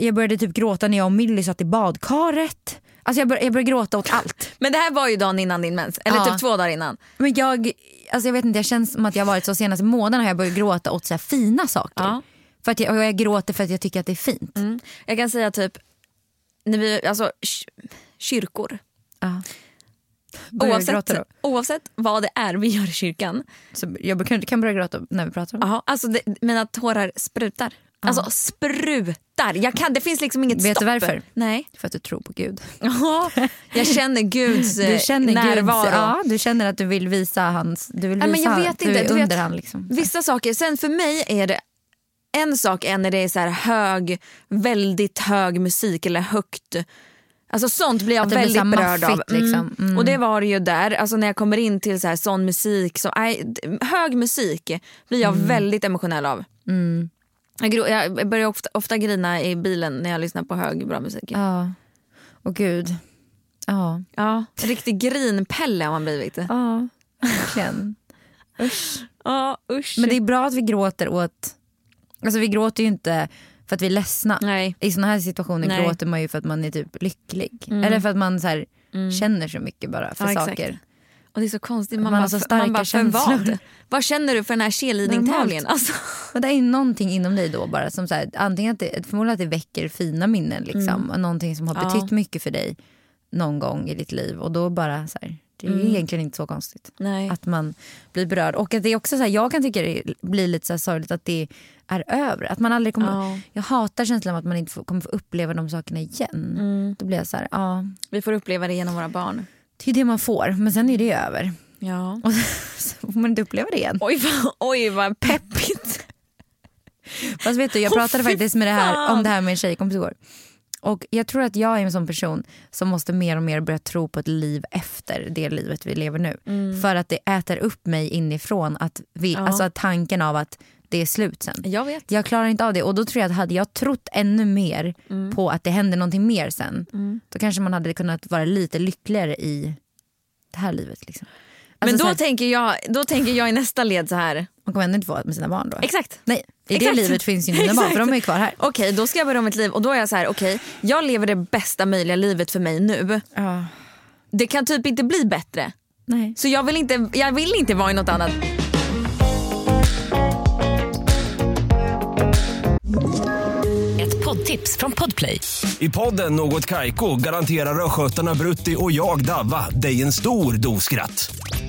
Jag började typ gråta när jag och Milly satt i badkaret. Alltså jag, bör, jag började gråta åt allt. Men det här var ju dagen innan din mens, eller Ja. typ två dagar innan. Men jag, alltså jag vet inte, jag känns som att jag har varit så senaste månaden har jag börjat gråta åt så här fina saker. Ja. För att jag, och jag gråter för att jag tycker att det är fint. Jag kan säga typ, när vi, alltså ky- kyrkor. Ja. Börjar jag Oavsett, gråta då? oavsett vad det är vi gör i kyrkan Så jag kan, kan börja gråta när vi pratar om det. Jaha, alltså det, mina tårar sprutar. Alltså sprutar. Jag kan, det finns liksom inget Vet du stopp. varför? Nej. För att du tror på Gud. Ja, jag känner Guds eh, Du känner närvaro. Guds, ja, du känner att du vill visa hans, du vill visa Nej, men jag att vet du inte. är Du vet- under han liksom. Vissa saker, sen för mig är det en sak är när det är så här hög, väldigt hög musik eller högt. Alltså sånt blir jag Att det blir så väldigt här berörd av. maffigt, liksom. Mm. Och det var det ju där, alltså när jag kommer in till så här sån musik, så, nej, d- hög musik blir jag Mm. väldigt emotionell av. Jag, gro- jag börjar ofta, ofta grina i bilen när jag lyssnar på hög bra musik. Ja. Och Gud. Ja. Ja, en riktig grinpelle har man blivit. Ja, verkligen. Ja, usch. Men det är bra att vi gråter åt, alltså vi gråter ju inte för att vi är ledsna. Nej. I såna här situationer Nej. Mm. gråter man ju för att man är typ lycklig. Eller för att man så här, känner så mycket bara för Ja, exakt. saker. Och det är så konstigt. Man, Man bara, har så för- starka man bara, för känslor. vad? Vad känner du för den här cheerleading-tävlingen? Alltså, Men det är ju någonting inom dig då bara som så här, antingen att det, förmodligen att det väcker fina minnen liksom. och Någonting som har Mm. Ja. betytt mycket för dig någon gång i ditt liv. Och då bara så här, det är ju egentligen inte så konstigt. Mm. Nej. Att man blir berörd. Och att det är också så här, jag kan tycka det blir lite så här sorgligt att det är över. Att man aldrig kommer, Ja. jag hatar känslan av att man inte får, kommer få uppleva de sakerna igen. Mm. Då blir jag så här, ja. vi får uppleva det genom våra barn. Det är det man får, men sen är det över. Ja. Och så får man inte uppleva det igen. Oj, vad, oj, vad peppigt. Fast vet du, jag Åh, pratade fy faktiskt med det här, fan! om det här med en tjejkompis igår. Och jag tror att jag är en sån person som måste mer och mer börja tro på ett liv efter det livet vi lever nu. Mm. För att det äter upp mig inifrån, att vi, alltså att tanken av att det är slut sen. Jag vet. Jag klarar inte av det och då tror jag att hade jag trott ännu mer Mm. på att det händer någonting mer sen, då kanske man hade kunnat vara lite lyckligare i det här livet. Liksom. Alltså Men så då, här, tänker jag, då tänker jag i nästa led så här. man kommer ändå inte vara med sina barn då. Exakt. Nej, i Exakt. det livet finns ju inte mina barn för de är ju kvar här. Okej, då ska jag börja om mitt liv och då är jag så här, okej, jag lever det bästa möjliga livet för mig nu. Ja. Det kan typ inte bli bättre. Nej. Så jag vill inte, jag vill inte vara i något annat. Ett poddtips från Podplay. I podden Något Kaiko garanterar östgötarna Brutti och jag, Davva, dig en stor dos skratt.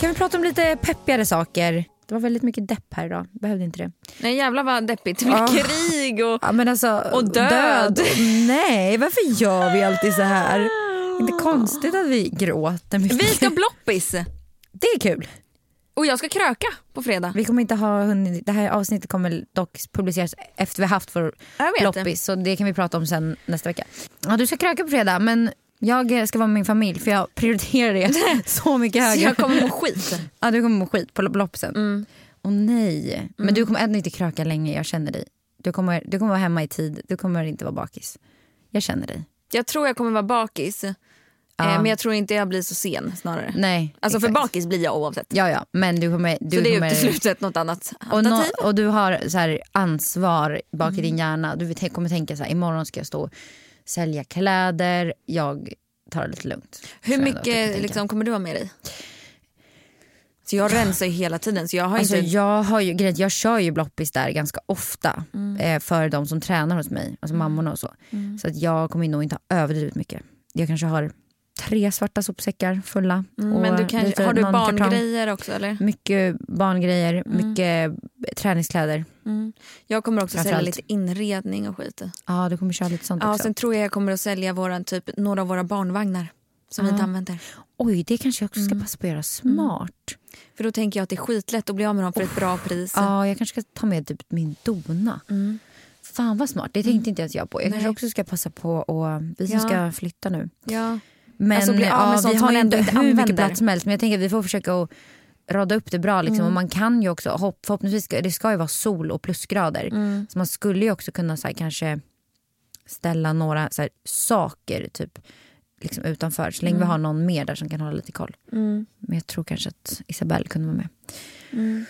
Kan vi prata om lite peppigare saker? Det var väldigt mycket depp här idag, behövde inte det. Nej jävlar vad deppigt. Det blir Ah. krig och... Ja, men alltså, Och död. Nej, varför gör vi alltid så här? Det är inte konstigt att vi gråter mycket. Vi ska bloppis Det är kul. och jag ska kröka på fredag. Vi kommer inte ha hunnit, det här avsnittet kommer dock publiceras efter vi har haft vår Jag vet det. loppis så det kan vi prata om sen nästa vecka. Ja, du ska kröka på fredag men jag eh, ska vara med min familj för jag prioriterar det så mycket Så högre. jag kommer må skit. Ja, du kommer må skit på loppisen. Mm. Åh nej. Men du kommer ändå inte kröka länge, jag känner dig. Du kommer, du kommer vara hemma i tid, du kommer inte vara bakis. Jag känner dig. Jag tror jag kommer vara bakis. eh, Men jag tror inte jag blir så sen snarare. Nej. Alltså för exakt. bakis blir jag oavsett. Ja, ja. Men du kommer... Du så det är kommer, uteslutet något annat och, nå- alternativ. och du har så här ansvar bak i din Mm. hjärna. Du vet- kommer tänka så här, imorgon ska jag stå och sälja kläder. Jag tar det lite lugnt. Hur tror jag ändå att du kan mycket tänka. liksom, kommer du ha med dig? Så jag rensar ju hela tiden. Så jag har Alltså, inte... jag, har ju, grejen, är att jag kör ju bloppis där ganska ofta Mm. eh, för de som tränar hos mig, alltså mammorna och så. Så att jag kommer nog inte ha överdrivet mycket. Jag kanske har tre svarta sopsäckar fulla. och Mm, men du kan, lite har du någon kartong. barngrejer Mm. också eller? Mycket barngrejer, mycket träningskläder. Jag kommer också sälja Framförallt. lite inredning och skit. Ja, du kommer köra lite sånt Ja, också. sen tror jag jag kommer att sälja våran, typ, några av våra barnvagnar som vi inte använder. Oj, det kanske jag också Mm. ska passa på att göra. Smart. För då tänker jag att det är skitlätt att bli av med dem för ett bra pris. Ja, jag kanske ska ta med typ min dona. Fan vad smart, det tänkte inte ens jag på. Jag kanske Mm. Nej. också ska passa på och vi som Ja. ska flytta nu. Ja. Men Alltså, bli av med ja, sånt vi som har man ju ändå inte inte hur använder. Mm. mycket plats som helst. Men jag tänker att vi får försöka att rada upp det bra. Liksom. Och man kan ju också, hopp, förhoppningsvis ska, det ska ju vara sol och plusgrader. Mm. Så man skulle ju också kunna så här, kanske ställa några så här, saker typ, liksom, utanför. Så länge Mm. vi har någon mer där som kan hålla lite koll. Men jag tror kanske att Isabelle kunde vara med. Mm.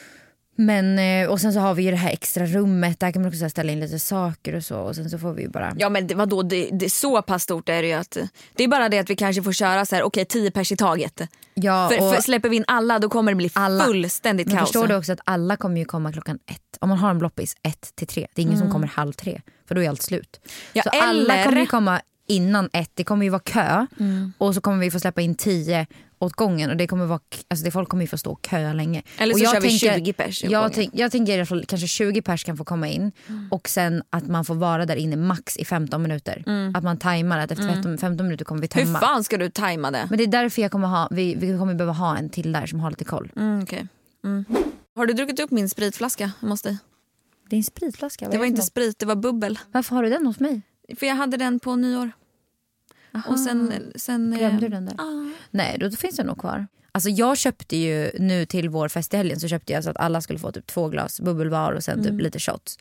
Men, eh, och sen så har vi ju det här extra rummet. Där kan man också så här, ställa in lite saker och så. Och sen så får vi ju bara... Ja men det, vadå, det, det, så pass stort är det ju att det är bara det att vi kanske får köra så här, okej tio pers i taget. Ja, för, och- för släpper vi in alla då kommer det bli Alla. fullständigt Men kaos. förstår du också att alla kommer ju komma klockan ett. Om man har en bloppis, ett till tre. Det är ingen som kommer halv tre, för då är allt slut. Mm. Ja, så alla eller- Mm. kommer ju komma innan ett, det kommer ju vara kö. Och så kommer vi få släppa in tio åt gången och det kommer vara, alltså det, folk kommer ju få stå och köa länge. Eller och så kör vi 20 pers åt jag, gången. Mm. tänk, jag tänker i alla fall kanske 20 pers kan få komma in och sen att man får vara där inne max i 15 minuter. Att man tajmar att efter 15, 15 minuter kommer vi Mm. Hur tömma. fan ska du tajma det? Men det är därför jag kommer ha, vi, vi kommer behöva ha en till där som har lite koll. Mm, okej. mm. Har du druckit upp min spritflaska? Jag Måste. Det är en spritflaska. vad Det är var för inte något? sprit, det var bubbel. Varför har du den hos mig? För jag hade den på nyår. Och sen... sen eh, Glömde du den där? Ja. Nej, då finns den nog kvar. Alltså jag köpte ju nu till vår fest i helgen så köpte jag så att alla skulle få typ två glas bubbel var och sen Mm. typ lite shots.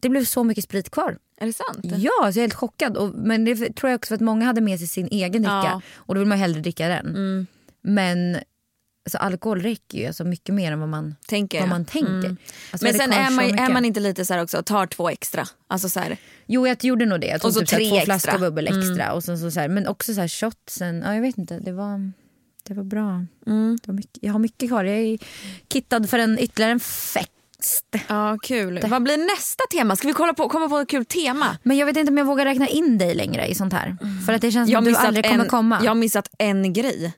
Det blev så mycket sprit kvar. Är Mm. det sant? Ja, så jag är helt chockad. Och, men det tror jag också för att många hade med sig sin egen dricka Ja. Mm. och då vill man ju hellre dricka den. Men alltså, alkohol räcker ju alltså, mycket mer än vad man Tänker vad jag. man tänker. Mm. Alltså, vi Men hade sen kvar är så man, är mycket. man inte lite så här också, tar två extra. Alltså så här, Jo, jag gjorde nog det. Jag tog Och så typ så här tre två extra. Mm. flaskor bubbel extra. Och sen så så här, men också så här shotsen. Ja, jag vet inte, det var, det var bra. Mm. Det var mycket, jag har mycket kvar. Jag är kittad för en, ytterligare en fest. ja kul. Vad blir nästa tema? Ska vi kolla på, komma på ett kul tema? Men jag vet inte om jag vågar räkna in dig längre i sånt här. Mm. För att det känns som att du aldrig kommer en, komma. jag har missat en grej.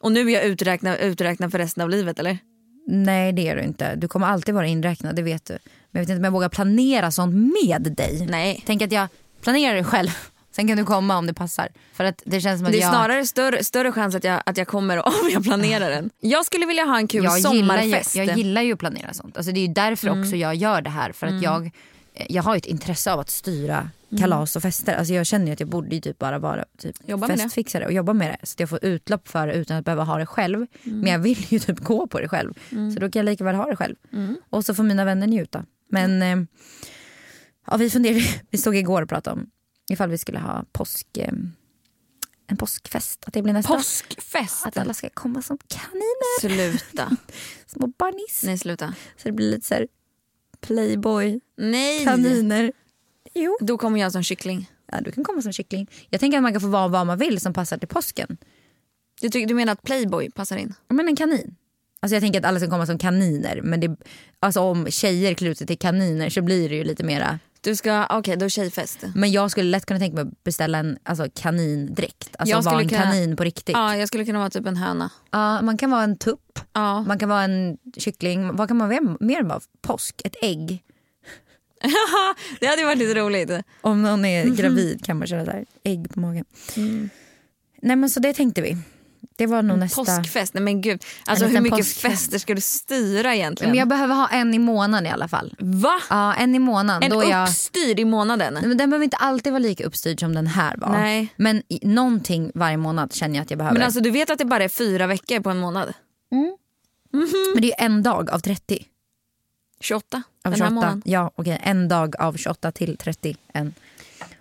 Och nu är jag uträknad, uträknad för resten av livet eller? Nej, det är du inte. Du kommer alltid vara inräknad, det vet du. Men jag vet inte om jag vågar planera sånt med dig. Nej. Tänk att jag planerar det själv. Sen kan du komma om det passar. För att det känns som att Det är jag... snarare större, större chans att jag, att jag kommer om jag planerar den. Jag skulle vilja ha en kul jag gillar, ju, sommarfest. Mm. jag gillar ju att planera sånt. Alltså det är ju därför också jag gör det här. För att jag, eh, jag har ju ett intresse av att styra Mm. kalas och fester. Alltså jag känner ju att jag borde ju typ bara vara typ Jobba med det. festfixare och jobba med det. Så att jag får utlopp för det utan att behöva ha det själv. Mm. Men jag vill ju typ gå på det själv. Så då kan jag lika väl ha det själv. Mm. Och så får mina vänner njuta. Men eh, ja, vi funderade, vi stod igår och pratade om ifall vi skulle ha påsk, eh, en påskfest. Att det blir nästa. Påskfest. Att alla ska komma som kaniner, Sluta. små barnis. Nej sluta. Så det blir lite så här playboy, Nej. kaniner. Jo. Då kommer jag som kyckling. Ja, du kan komma som kyckling. Jag tänker att man kan få vara vad man vill som passar till påsken. Du, tycker, du menar att Playboy passar in? Ja, Men en kanin. Alltså jag tänker att alla ska komma som kaniner. Men det, alltså om tjejer klär ut sig till kaniner så blir det ju lite mera. Du ska, okej då tjejfest. Men jag skulle lätt kunna tänka mig att beställa en alltså, kanindräkt. Alltså Jag vara skulle en kunna- kanin på riktigt. Ja. Ja, jag skulle kunna vara typ en höna. man kan vara en tupp, Ja. man kan vara en kyckling. Vad kan man vara mer vara? Påsk, ett ägg. Det hade ju varit lite roligt. Om någon är Mhm. gravid kan man köra där. ägg på magen. Mm. Nej men så det tänkte vi. Det var nog nästa. Påskfest, nej men gud. Alltså En hur liten mycket påskfest. fester ska du styra egentligen? Men jag behöver ha en i månaden i alla fall. Va? Ja, en i månaden. Mm. En då är jag... Mm. uppstyrd i månaden? Nej, men Den behöver inte alltid vara lika uppstyrd som den här var. Nej. Men i- någonting varje månad känner jag att jag behöver. Men Men, alltså du vet att det bara är fyra veckor på en månad? det är ju en dag av 30. 28 Av den 28. här månaden. Ja, okej. En dag av 28 till 30. En.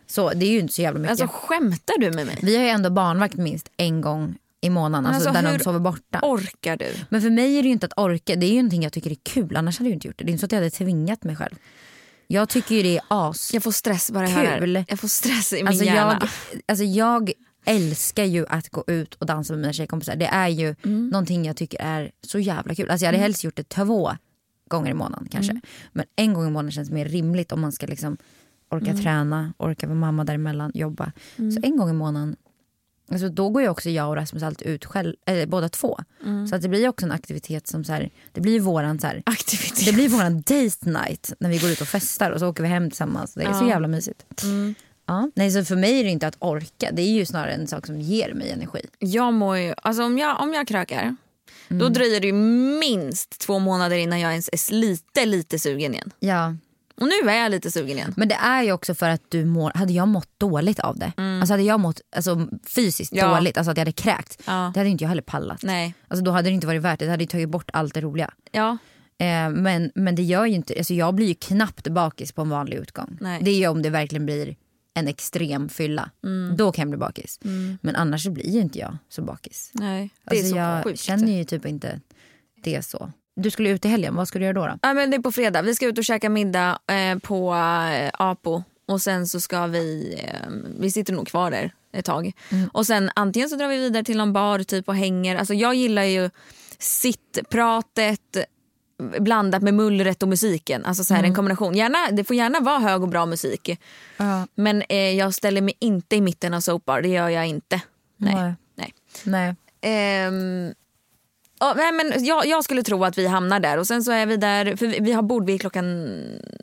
Så det är ju inte så jävla mycket. Alltså skämtar du med mig? Vi har ju ändå barnvakt minst en gång i månaden. Alltså, alltså, där hur någon sover borta. Orkar du? Men för mig är det ju inte att orka, det är ju någonting jag tycker är kul. Annars hade jag ju inte gjort det. Det är inte så att jag hade tvingat mig själv. Jag tycker ju det är as. Jag får stress bara jag hör det Kul. här. Jag får stress i min Alltså hjärna. jag, alltså jag älskar ju att gå ut och dansa med mina tjejkompisar. Det är ju Mm. någonting jag tycker är så jävla kul. Alltså jag hade helst gjort det två gånger i månaden kanske. Mm. Men en gång i månaden känns mer rimligt om man ska liksom orka Mm. träna, orka vara mamma däremellan, jobba. Så en gång i månaden Alltså då går ju också jag och Rasmus alltid ut själv, eller båda två. Mm. Så att det blir ju också en aktivitet som så här, det blir ju våran så här, Aktivitet. det blir våran date night när vi går ut och festar och så åker vi hem tillsammans. Det är så jävla mysigt. Mm. Ja. Nej, så för mig är det inte att orka. Det är ju snarare en sak som ger mig energi. Jag mår ju, alltså om jag, om jag krökar då Mm. dröjer det ju minst två månader innan jag ens är lite, lite sugen igen. Ja. Och nu är jag lite sugen igen. Men det är ju också för att du mår, hade jag mått dåligt av det, alltså hade jag mått alltså, fysiskt Mm. Ja. dåligt, alltså att jag hade kräkt, Ja. det hade inte jag heller pallat. Nej. Alltså, då hade det inte varit värt det, det hade ju tagit bort allt det roliga. Ja. Eh, men, men det gör ju inte, alltså jag blir ju knappt bakis på en vanlig utgång. Nej. Det är ju om det verkligen blir en extrem fylla. Mm. Då kan jag bli bakis. Men annars så blir ju inte jag så bakis. Nej. Mm. Det Alltså är så jag sjukt. känner ju typ inte det så. Du skulle ut i helgen, vad ska du göra då? då? Ja, men det är på fredag. Vi ska ut och käka middag eh, på eh, Apo. Och sen så ska vi, eh, vi sitter nog kvar där ett tag. Mm. Och sen antingen så drar vi vidare till någon bar typ och hänger. Alltså jag gillar ju sittpratet blandat med mullret och musiken. Alltså så här Mm. en kombination. Gärna, det får gärna vara hög och bra musik. Men eh, jag ställer mig inte i mitten av sopar. Det gör jag inte. Nej. Nej. Nej. Nej. Ehm, ja, nej, men jag, jag skulle tro att vi hamnar där. Och sen så är vi där, för vi, vi har bord vid klockan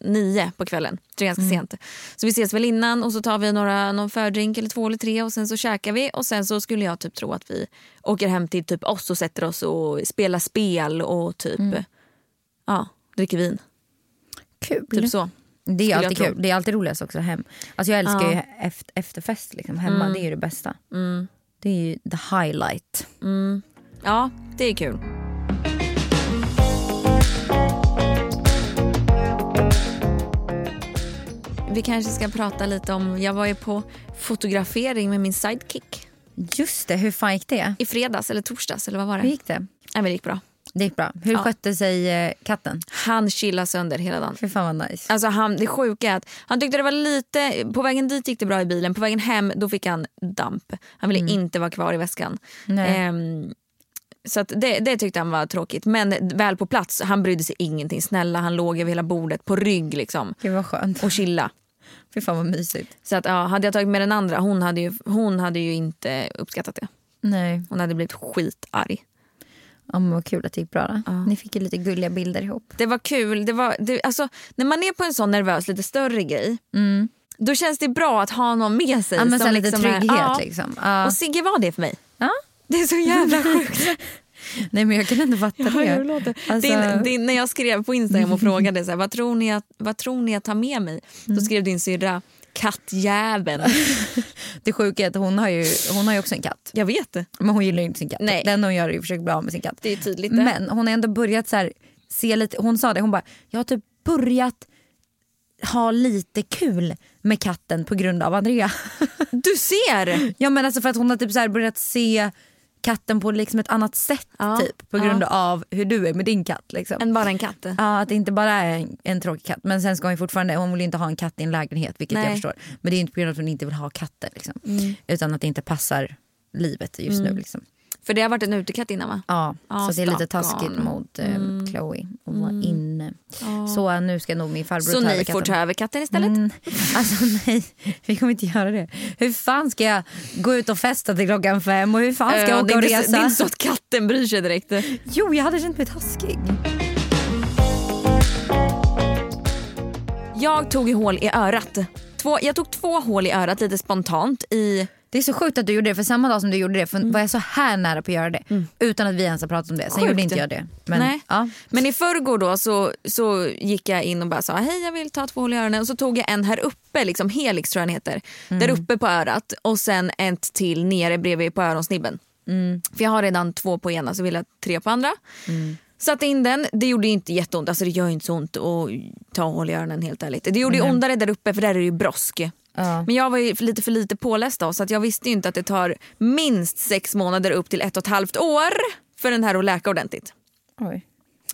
nio på kvällen. Så det är ganska sent. Så vi ses väl innan och så tar vi några, någon fördrink eller två eller tre och sen så käkar vi. Och sen så skulle jag typ tro att vi åker hem till typ oss och sätter oss och spelar spel och typ ja, dricker vin. Kul. Typ så. Det är jag alltid tro. kul. Det är alltid roligast också hem. Alltså jag älskar ju efter, efterfest liksom. hemma. Mm. Det är ju det bästa. Det är ju the highlight. Ja, det är kul. Vi kanske ska prata lite om, jag var ju på fotografering med min sidekick Just det, hur fan gick det? i fredags eller torsdags eller vad var det? Hur gick det? Nej men det gick bra. Det gick bra. Hur Ja. skötte sig eh, katten? Han chillade sönder hela dagen. Fy fan vad nice. Alltså han, det sjuka är att han tyckte det var lite, på vägen dit gick det bra i bilen, på vägen hem då fick han damp. Han ville inte vara kvar i väskan. Mm. Nej. Ehm, så att det, det tyckte han var tråkigt. Men väl på plats, han brydde sig ingenting. Snälla, han låg över hela bordet på rygg liksom Gud vad skönt. och chilla. Fy fan vad mysigt. Så att, ja, hade jag tagit med den andra, hon hade, ju, hon hade ju inte uppskattat det. Nej, Hon hade blivit skitarg. ja, men vad kul att det gick bra då. Ni fick ju lite gulliga bilder ihop. Det var kul. Det var, det, alltså, när man är på en sån nervös, lite större grej då känns det bra att ha någon med sig. Mm. Ja, men som så här lite liksom är- trygghet ja. liksom. Ja. Och Sigge var det för mig. Ja. Det är så jävla sjukt. Nej men jag kan ändå fatta Jag det. hör hur det låter. Alltså, Din, din, när jag skrev på Instagram och frågade så här, vad, tror ni att, vad tror ni att ta med mig? Då skrev din syrra kattjäveln. Det sjuka är att hon har, ju, hon har ju också en katt. Jag vet det. Men hon gillar ju inte sin katt. Nej. Den hon gör är ju försöker bli av med sin katt. Det är tydligt det. Men hon har ändå börjat så här, se lite, hon sa det, hon bara, jag har typ börjat ha lite kul med katten på grund av Andrea. Du ser! ja men alltså för att hon har typ så här börjat se katten på liksom ett annat sätt Ja, typ på ja. grund av hur du är med din katt liksom. En bara en katt. Ja, att det inte bara är en, en tråkig katt. Men sen ska hon ju fortfarande, hon vill ju inte ha en katt i en lägenhet vilket Nej. Mm. jag förstår. Men det är ju inte på grund av att hon inte vill ha katter liksom. Utan att det inte passar livet just nu liksom. För det har varit en utekatt innan va? Ja, Mm. Ja, Mm. så det är lite stackarn. taskigt mot eh, Chloe att vara inne. Så eh, nu ska nog min farbror Så ta över ni får katten. ta över katten istället? Mm, alltså nej, vi kommer inte göra det. Hur fan ska jag gå ut och festa till klockan fem och hur fan ska Eh, jag åka det, är och inte, så- resa? det är inte så att katten bryr sig direkt. Jo, jag hade känt mig taskig. Jag tog ju hål i örat. Två, jag tog två hål i örat lite spontant i Det är så sjukt att du gjorde det för samma dag som du gjorde det för var jag så här nära på att göra det utan att vi ens har pratat om det. Sen Sjukt. gjorde inte jag det. Men, Nej. Ja. Men i förrgår då så, så gick jag in och bara sa hej jag vill ta två hål i öronen och så tog jag en här uppe, liksom helix tror jag den heter, där uppe på örat och sen ett till nere bredvid på öronsnibben. För jag har redan två på ena så vill jag tre på andra. Satte in den, det gjorde ju inte jätteont, alltså det gör ju inte så ont att ta hål i öronen helt ärligt. Det gjorde ju ondare där uppe för där är det ju brosk. Ja. Men jag var ju lite för lite påläst då så att jag visste ju inte att det tar minst sex månader upp till ett och ett halvt år för den här att läka ordentligt. Oj.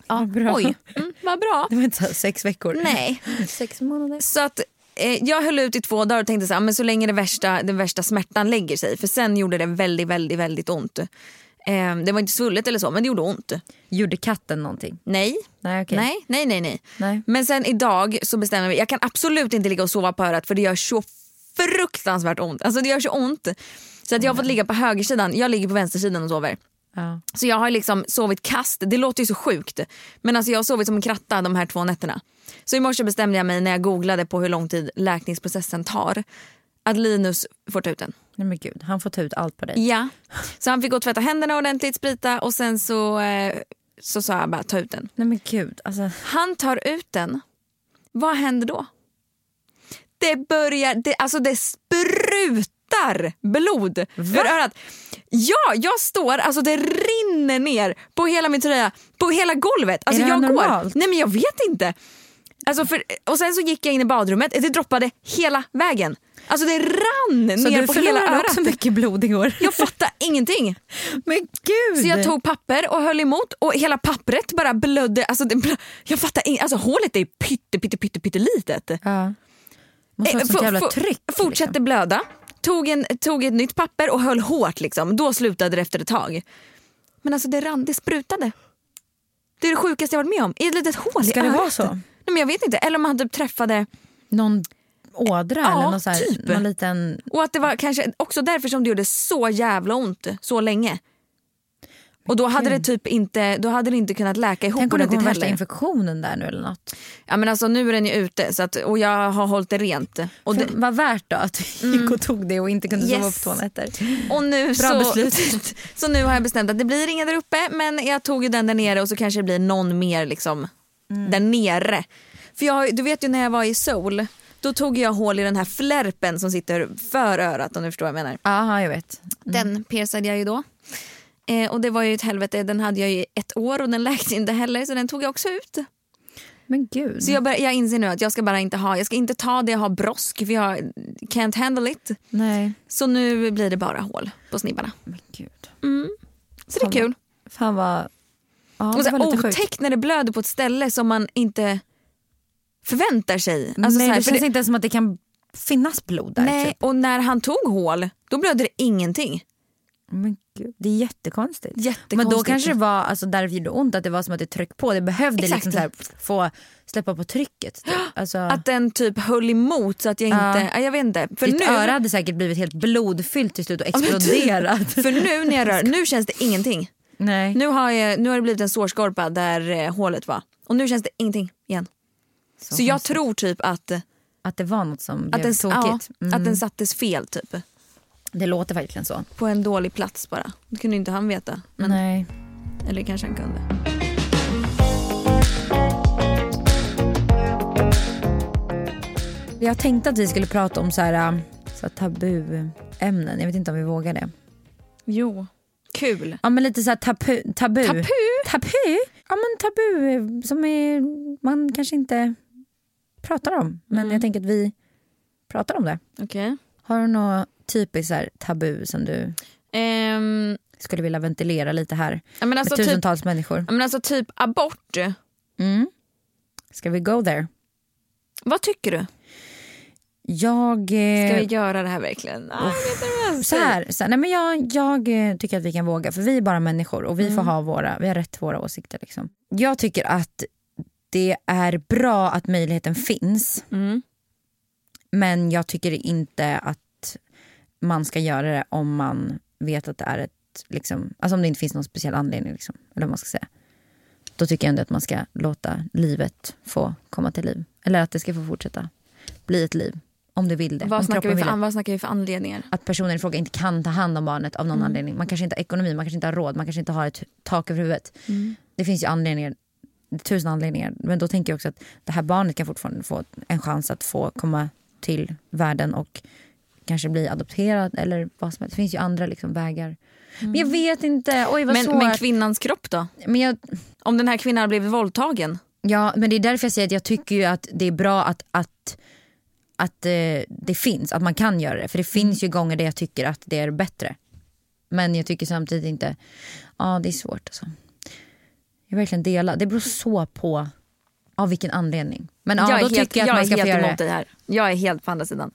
Ja, bra. Oj, mm, vad bra. Det var inte så här sex veckor. Nej. Sex månader. Så att eh, jag höll ut i två dagar och tänkte så här, "Ah, men så länge det värsta, den värsta smärtan lägger sig. För sen gjorde det väldigt, väldigt, väldigt ont. Eh, det var inte svullet eller så, men det gjorde ont. Gjorde katten någonting? Nej. Nej, okej. Nej, nej, nej, nej. Nej. Men sen idag så bestämmer vi, jag kan absolut inte ligga och sova på örat för det gör så fruktansvärt ont. Alltså det gör så ont. Så att jag har fått ligga på högersidan, jag ligger på vänstersidan och sover. Ja. Så jag har liksom sovit kast. Det låter ju så sjukt. Men alltså jag har sovit som en kratta de här två nätterna. Så i morse bestämde jag mig när jag googlade på hur lång tid läkningsprocessen tar. Att Linus får ta ut den. Nej men gud, han får ta ut allt på dig. Ja. Så han fick gå och tvätta händerna ordentligt, sprita och sen så, eh, så sa jag bara ta ut den. Nej men gud, alltså. Han tar ut den. Vad händer då? Det börjar, det, alltså det sprutar blod ur örat. Ja, jag står, alltså det rinner ner på hela min tröja, på hela golvet. Alltså det här jag normalt? går. Nej men jag vet inte. Alltså för, och sen så gick jag in i badrummet, det droppade hela vägen. Alltså det rann Så ner du på hela förlorade örat. också mycket blod igår. Jag fattar ingenting. Men gud! Så jag tog papper och höll emot och hela pappret bara blödde. Alltså, det, bl- jag fattar inte. Alltså, hålet är pytte, pytte, pytte, pytte litet. Ja. Måste ha Eh, sånt fo- jävla fo- tryck. Fortsatte Liksom. blöda. Tog, en, tog ett nytt papper och höll hårt. Liksom. Då slutade det efter ett tag. Men alltså det rann, det sprutade. Det är det sjukaste jag varit med om. I ett litet hål Ska i det örat. vara så? Nej, men jag vet inte. Eller om han typ träffade... Någon ådra Ja, eller någon, så här, typ. någon liten... Och att det var kanske också därför som det gjorde så jävla ont så länge. Och då hade det typ inte, då hade det inte kunnat läka ihop Tänk om det ordentligt kommer värsta heller. infektionen där nu eller något. Ja, men alltså, nu är den ju ute så att, och jag har hållit det rent. Och, det, Mm. För Vad värt då att du gick och tog det och inte kunde sova Yes. på två nätter. och nu så, beslut. så nu har jag bestämt att det blir inga där uppe men jag tog ju den där nere och så kanske det blir någon mer liksom där nere. För jag, har ju- du vet ju när jag var i Seoul, då tog jag hål i den här flärpen som sitter för örat om du förstår vad jag menar. Aha, jag vet. Mm. Den piercade jag ju då. Eh, och det var ju ett helvete, den hade jag ju i ett år och den läkte inte heller så den tog jag också ut. Men gud. Så jag, bör, jag inser nu att jag ska bara inte ha, jag ska inte ta det jag har brosk för jag can't handle it. Nej. Så nu blir det bara hål på snibbarna. Men gud. Så det är kul. Fan vad... Ja, Och det var så lite sjukt. otäckt när det blöder på ett ställe som man inte förväntar sig. Alltså Nej, så här, det för känns inte ens som att det kan finnas blod där. Nej, Typ. och när han tog hål då blödde det ingenting. Men gud, det är jättekonstigt. Jättekonstigt. Men då kanske det var alltså, där det gjorde ont, att det var som att det tryck på. Det behövde Exakt. liksom så här, få släppa på trycket. Typ. Alltså, Att den typ höll emot så att jag Ja. inte, ja. jag vet inte. För ditt nu, öra hade säkert blivit helt blodfyllt till slut och Ja, men typ. exploderat. För nu när jag rör, nu känns det ingenting. Nej. Nu har, jag, nu har det blivit en sårskorpa där eh, hålet var. Och nu känns det ingenting igen. Så, jag konstigt. tror typ att, Att det var något som blev att, den, ja, tokigt. Mm. att den sattes fel typ. Det låter verkligen så. På en dålig plats bara. Det kunde inte han veta. Men, Nej. Eller kanske han kunde. Jag tänkte att vi skulle prata om så här, äh, så här tabuämnen. Jag vet inte om vi vågar det. Jo. Kul. Ja men lite så här tabu. Tabu? Tabu? Tabu? Ja men tabu eh, som är, man kanske inte pratar om. Men jag tänker att vi pratar om det. Okej. Mm. Har du något typiskt så här tabu som du Ehm, skulle vilja ventilera lite här? ja, men alltså med typ, tusentals människor. ja, men alltså typ abort. Mm. Ska vi go there? Vad tycker du? Jag... Ska eh, vi göra det här verkligen? Ah, jag vet Så här, så här, nej men jag, jag eh, tycker att vi kan våga för vi är bara människor och vi Mm. får ha våra, vi har rätt till våra åsikter. Liksom. Jag tycker att det är bra att möjligheten finns Mm. men jag tycker inte att man ska göra det om man vet att det är ett, liksom, alltså om det inte finns någon speciell anledning. Liksom, eller vad man ska säga. Då tycker jag ändå att man ska låta livet få komma till liv. Eller att det ska få fortsätta bli ett liv. Om du vill det. om Vad snackar, kroppen vi vill för, det an- vad snackar vi för anledningar? att personen i fråga inte kan ta hand om barnet av någon anledning. Man kanske inte har ekonomi, man kanske inte har råd, man kanske inte har ett tak över huvudet. Det finns ju anledningar, tusen anledningar. Men då tänker jag också att det här barnet kan fortfarande få en chans att få komma till världen och kanske bli adopterad eller vad som helst. Det finns ju andra liksom vägar. Men jag vet inte, oj vad Men, svårt. men kvinnans kropp då? men jag, Om den här kvinnan har blivit våldtagen? Ja, men det är därför jag säger att jag tycker ju att det är bra att, att, att eh, det finns, att man kan göra det. För det Mm. finns ju gånger där jag tycker att det är bättre. Men jag tycker samtidigt inte, ja det är svårt alltså. Jag verkligen delar, det beror så på av vilken anledning. Men ja, jag är då helt, tycker jag att jag man ska är få helt göra emot det. dig här. Jag är helt på andra sidan.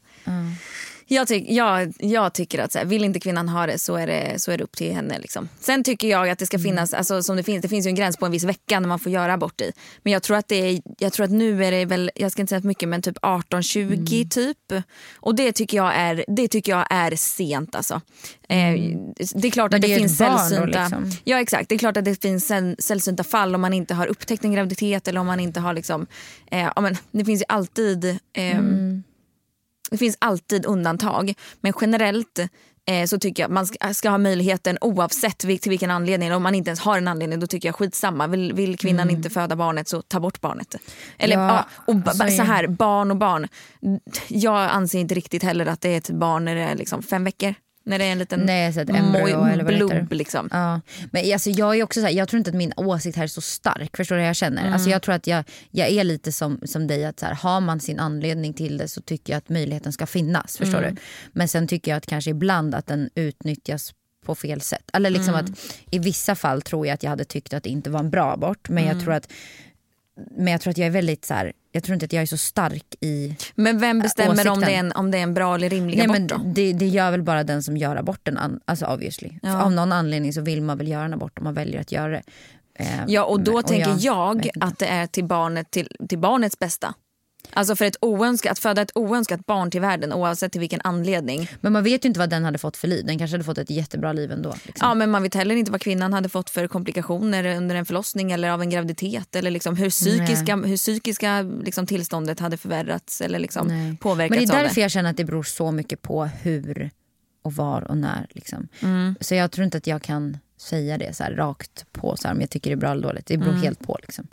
Jag, tyck, jag, jag tycker att så här, vill inte kvinnan ha det så är det, så är det upp till henne. Liksom. Sen tycker jag att det Mm. ska finnas, alltså, som det finns, det finns ju en gräns på en viss vecka när man får göra abort i. Men jag tror att, det är, jag tror att nu är det väl, jag ska inte säga för mycket, men typ 18-20 Mm. typ. Och det tycker jag är, det tycker jag är sent alltså. Eh, det är Mm. klart Men att det, det är ju finns ett barn då, sällsynta... liksom. Ja exakt, det är klart att det finns säll- sällsynta fall om man inte har upptäckt en graviditet eller om man inte har liksom, eh, ja, men det finns ju alltid ehm, det finns alltid undantag, men generellt eh, så tycker jag att man ska, ska ha möjligheten oavsett vil, till vilken anledning. Om man inte ens har en anledning då tycker jag skitsamma. Vill, vill kvinnan inte föda barnet så ta bort barnet. Eller Mm. Ja, ja, och ba, alltså, ba, så ja. här, barn och barn. Jag anser inte riktigt heller att det är ett barn när det är liksom fem veckor. När det är en liten Nej, så ett embryo moj- eller vad det heter. blob liksom. Ja. Men alltså, jag, är också så här, jag tror inte att min åsikt här är så stark. Förstår du hur jag känner? Mm. Alltså, jag tror att jag, jag är lite som, som dig. att så här, Har man sin anledning till det så tycker jag att möjligheten ska finnas. Förstår Mm. du? Men sen tycker jag att kanske ibland att den utnyttjas på fel sätt. Eller liksom Mm. att I vissa fall tror jag att jag hade tyckt att det inte var en bra abort. Men, Mm. jag, tror att, men jag tror att jag är väldigt så här, jag tror inte att jag är så stark i Men vem bestämmer om åsikten. det, är en, om det är en bra eller rimlig Nej, abort men då? det, det gör väl bara den som gör aborten, an- alltså obviously. Ja. För Av någon anledning så vill man väl göra en abort om man väljer att göra det. Eh, Ja, och då men- tänker jag, vet inte. att det är till, barnet, till, till barnets bästa. Alltså för ett oönskat, att föda ett oönskat barn till världen oavsett till vilken anledning. Men man vet ju inte vad den hade fått för liv. Den kanske hade fått ett jättebra liv ändå. Liksom. Ja, men man vet heller inte vad kvinnan hade fått för komplikationer under en förlossning eller av en graviditet eller liksom hur psykiska, hur psykiska liksom tillståndet hade förvärrats eller liksom Nej. påverkats Men det är av därför det. jag känner att det Mm. beror så mycket på hur och var och när. Liksom. Så jag tror inte att jag kan säga det så här, rakt på så här, om jag tycker det är bra eller dåligt. Det beror Mm. helt på. Liksom.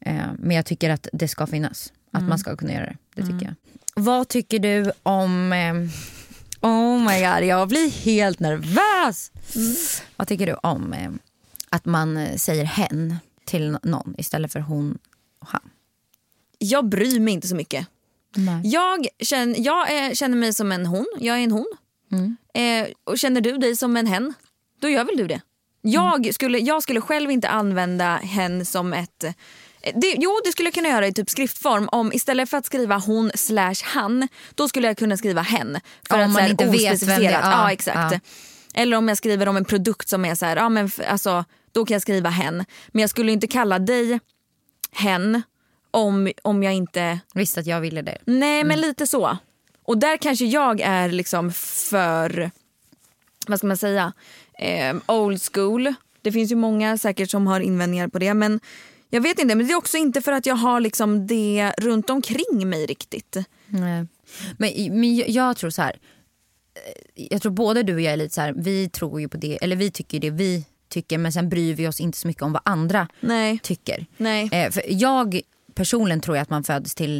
Eh, men jag tycker att det ska finnas. Att Mm. man ska kunna göra det. Det tycker jag. Vad tycker du om... Eh, oh my god, jag blir helt nervös! Vad tycker du om eh, att man eh, säger hen till nå- någon istället för hon och han? Jag bryr mig inte så mycket. Nej. Jag känner, jag är, känner mig som en hon. Jag är en hon. Mm. Eh, och känner du dig som en hen, då gör väl du det. Mm. Jag, skulle, jag skulle själv inte använda hen som ett... eh, Det, jo, det skulle jag kunna göra i typ skriftform. Om Istället för att skriva hon slash han, då skulle jag kunna skriva hen. För Ja, att om så man här, inte vet vem det är. ospecificerat. Ja, Ja, exakt. ja. Eller om jag skriver om en produkt som är så här, ja, men, f- alltså, då kan jag skriva hen. Men jag skulle inte kalla dig hen om, om jag inte... Visst att jag ville det. Nej, men lite så. Och där kanske jag är liksom för, vad ska man säga, eh, old school. Det finns ju många säkert som har invändningar på det. Men jag vet inte, men det är också inte för att jag har liksom det runt omkring mig riktigt. Nej. Men, men jag- jag tror så här. eh, Jag tror både du och jag är lite så här, vi tror ju på det, eller vi tycker det vi tycker men sen bryr vi oss inte så mycket om vad andra Nej. tycker. Nej. Eh, för jag personligen tror jag att man föds till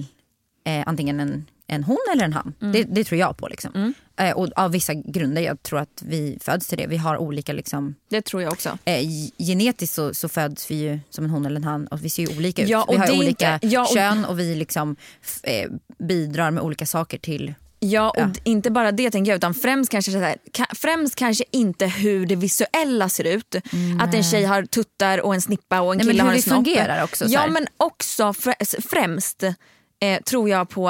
eh, antingen en, en hon eller en han. Det, det tror jag på. Liksom. Eh, och av vissa grunder, jag tror att vi föds till det. Vi har olika liksom, Det tror jag också. eh, g- genetiskt så, så föds vi ju som en hon eller en han och vi ser ju olika ut. Ja, och vi har det ju är olika inte- ja, och- kön och vi liksom, f- eh, bidrar med olika saker till Ja, och Ja. d- inte bara det tänker jag utan främst kanske, så här, ka- främst kanske inte hur det visuella ser ut. Att en tjej har tuttar och en snippa och en Mm, Nej, men kille hur har en det snopp. fungerar också, så Ja, här. men också frä- främst eh, tror jag på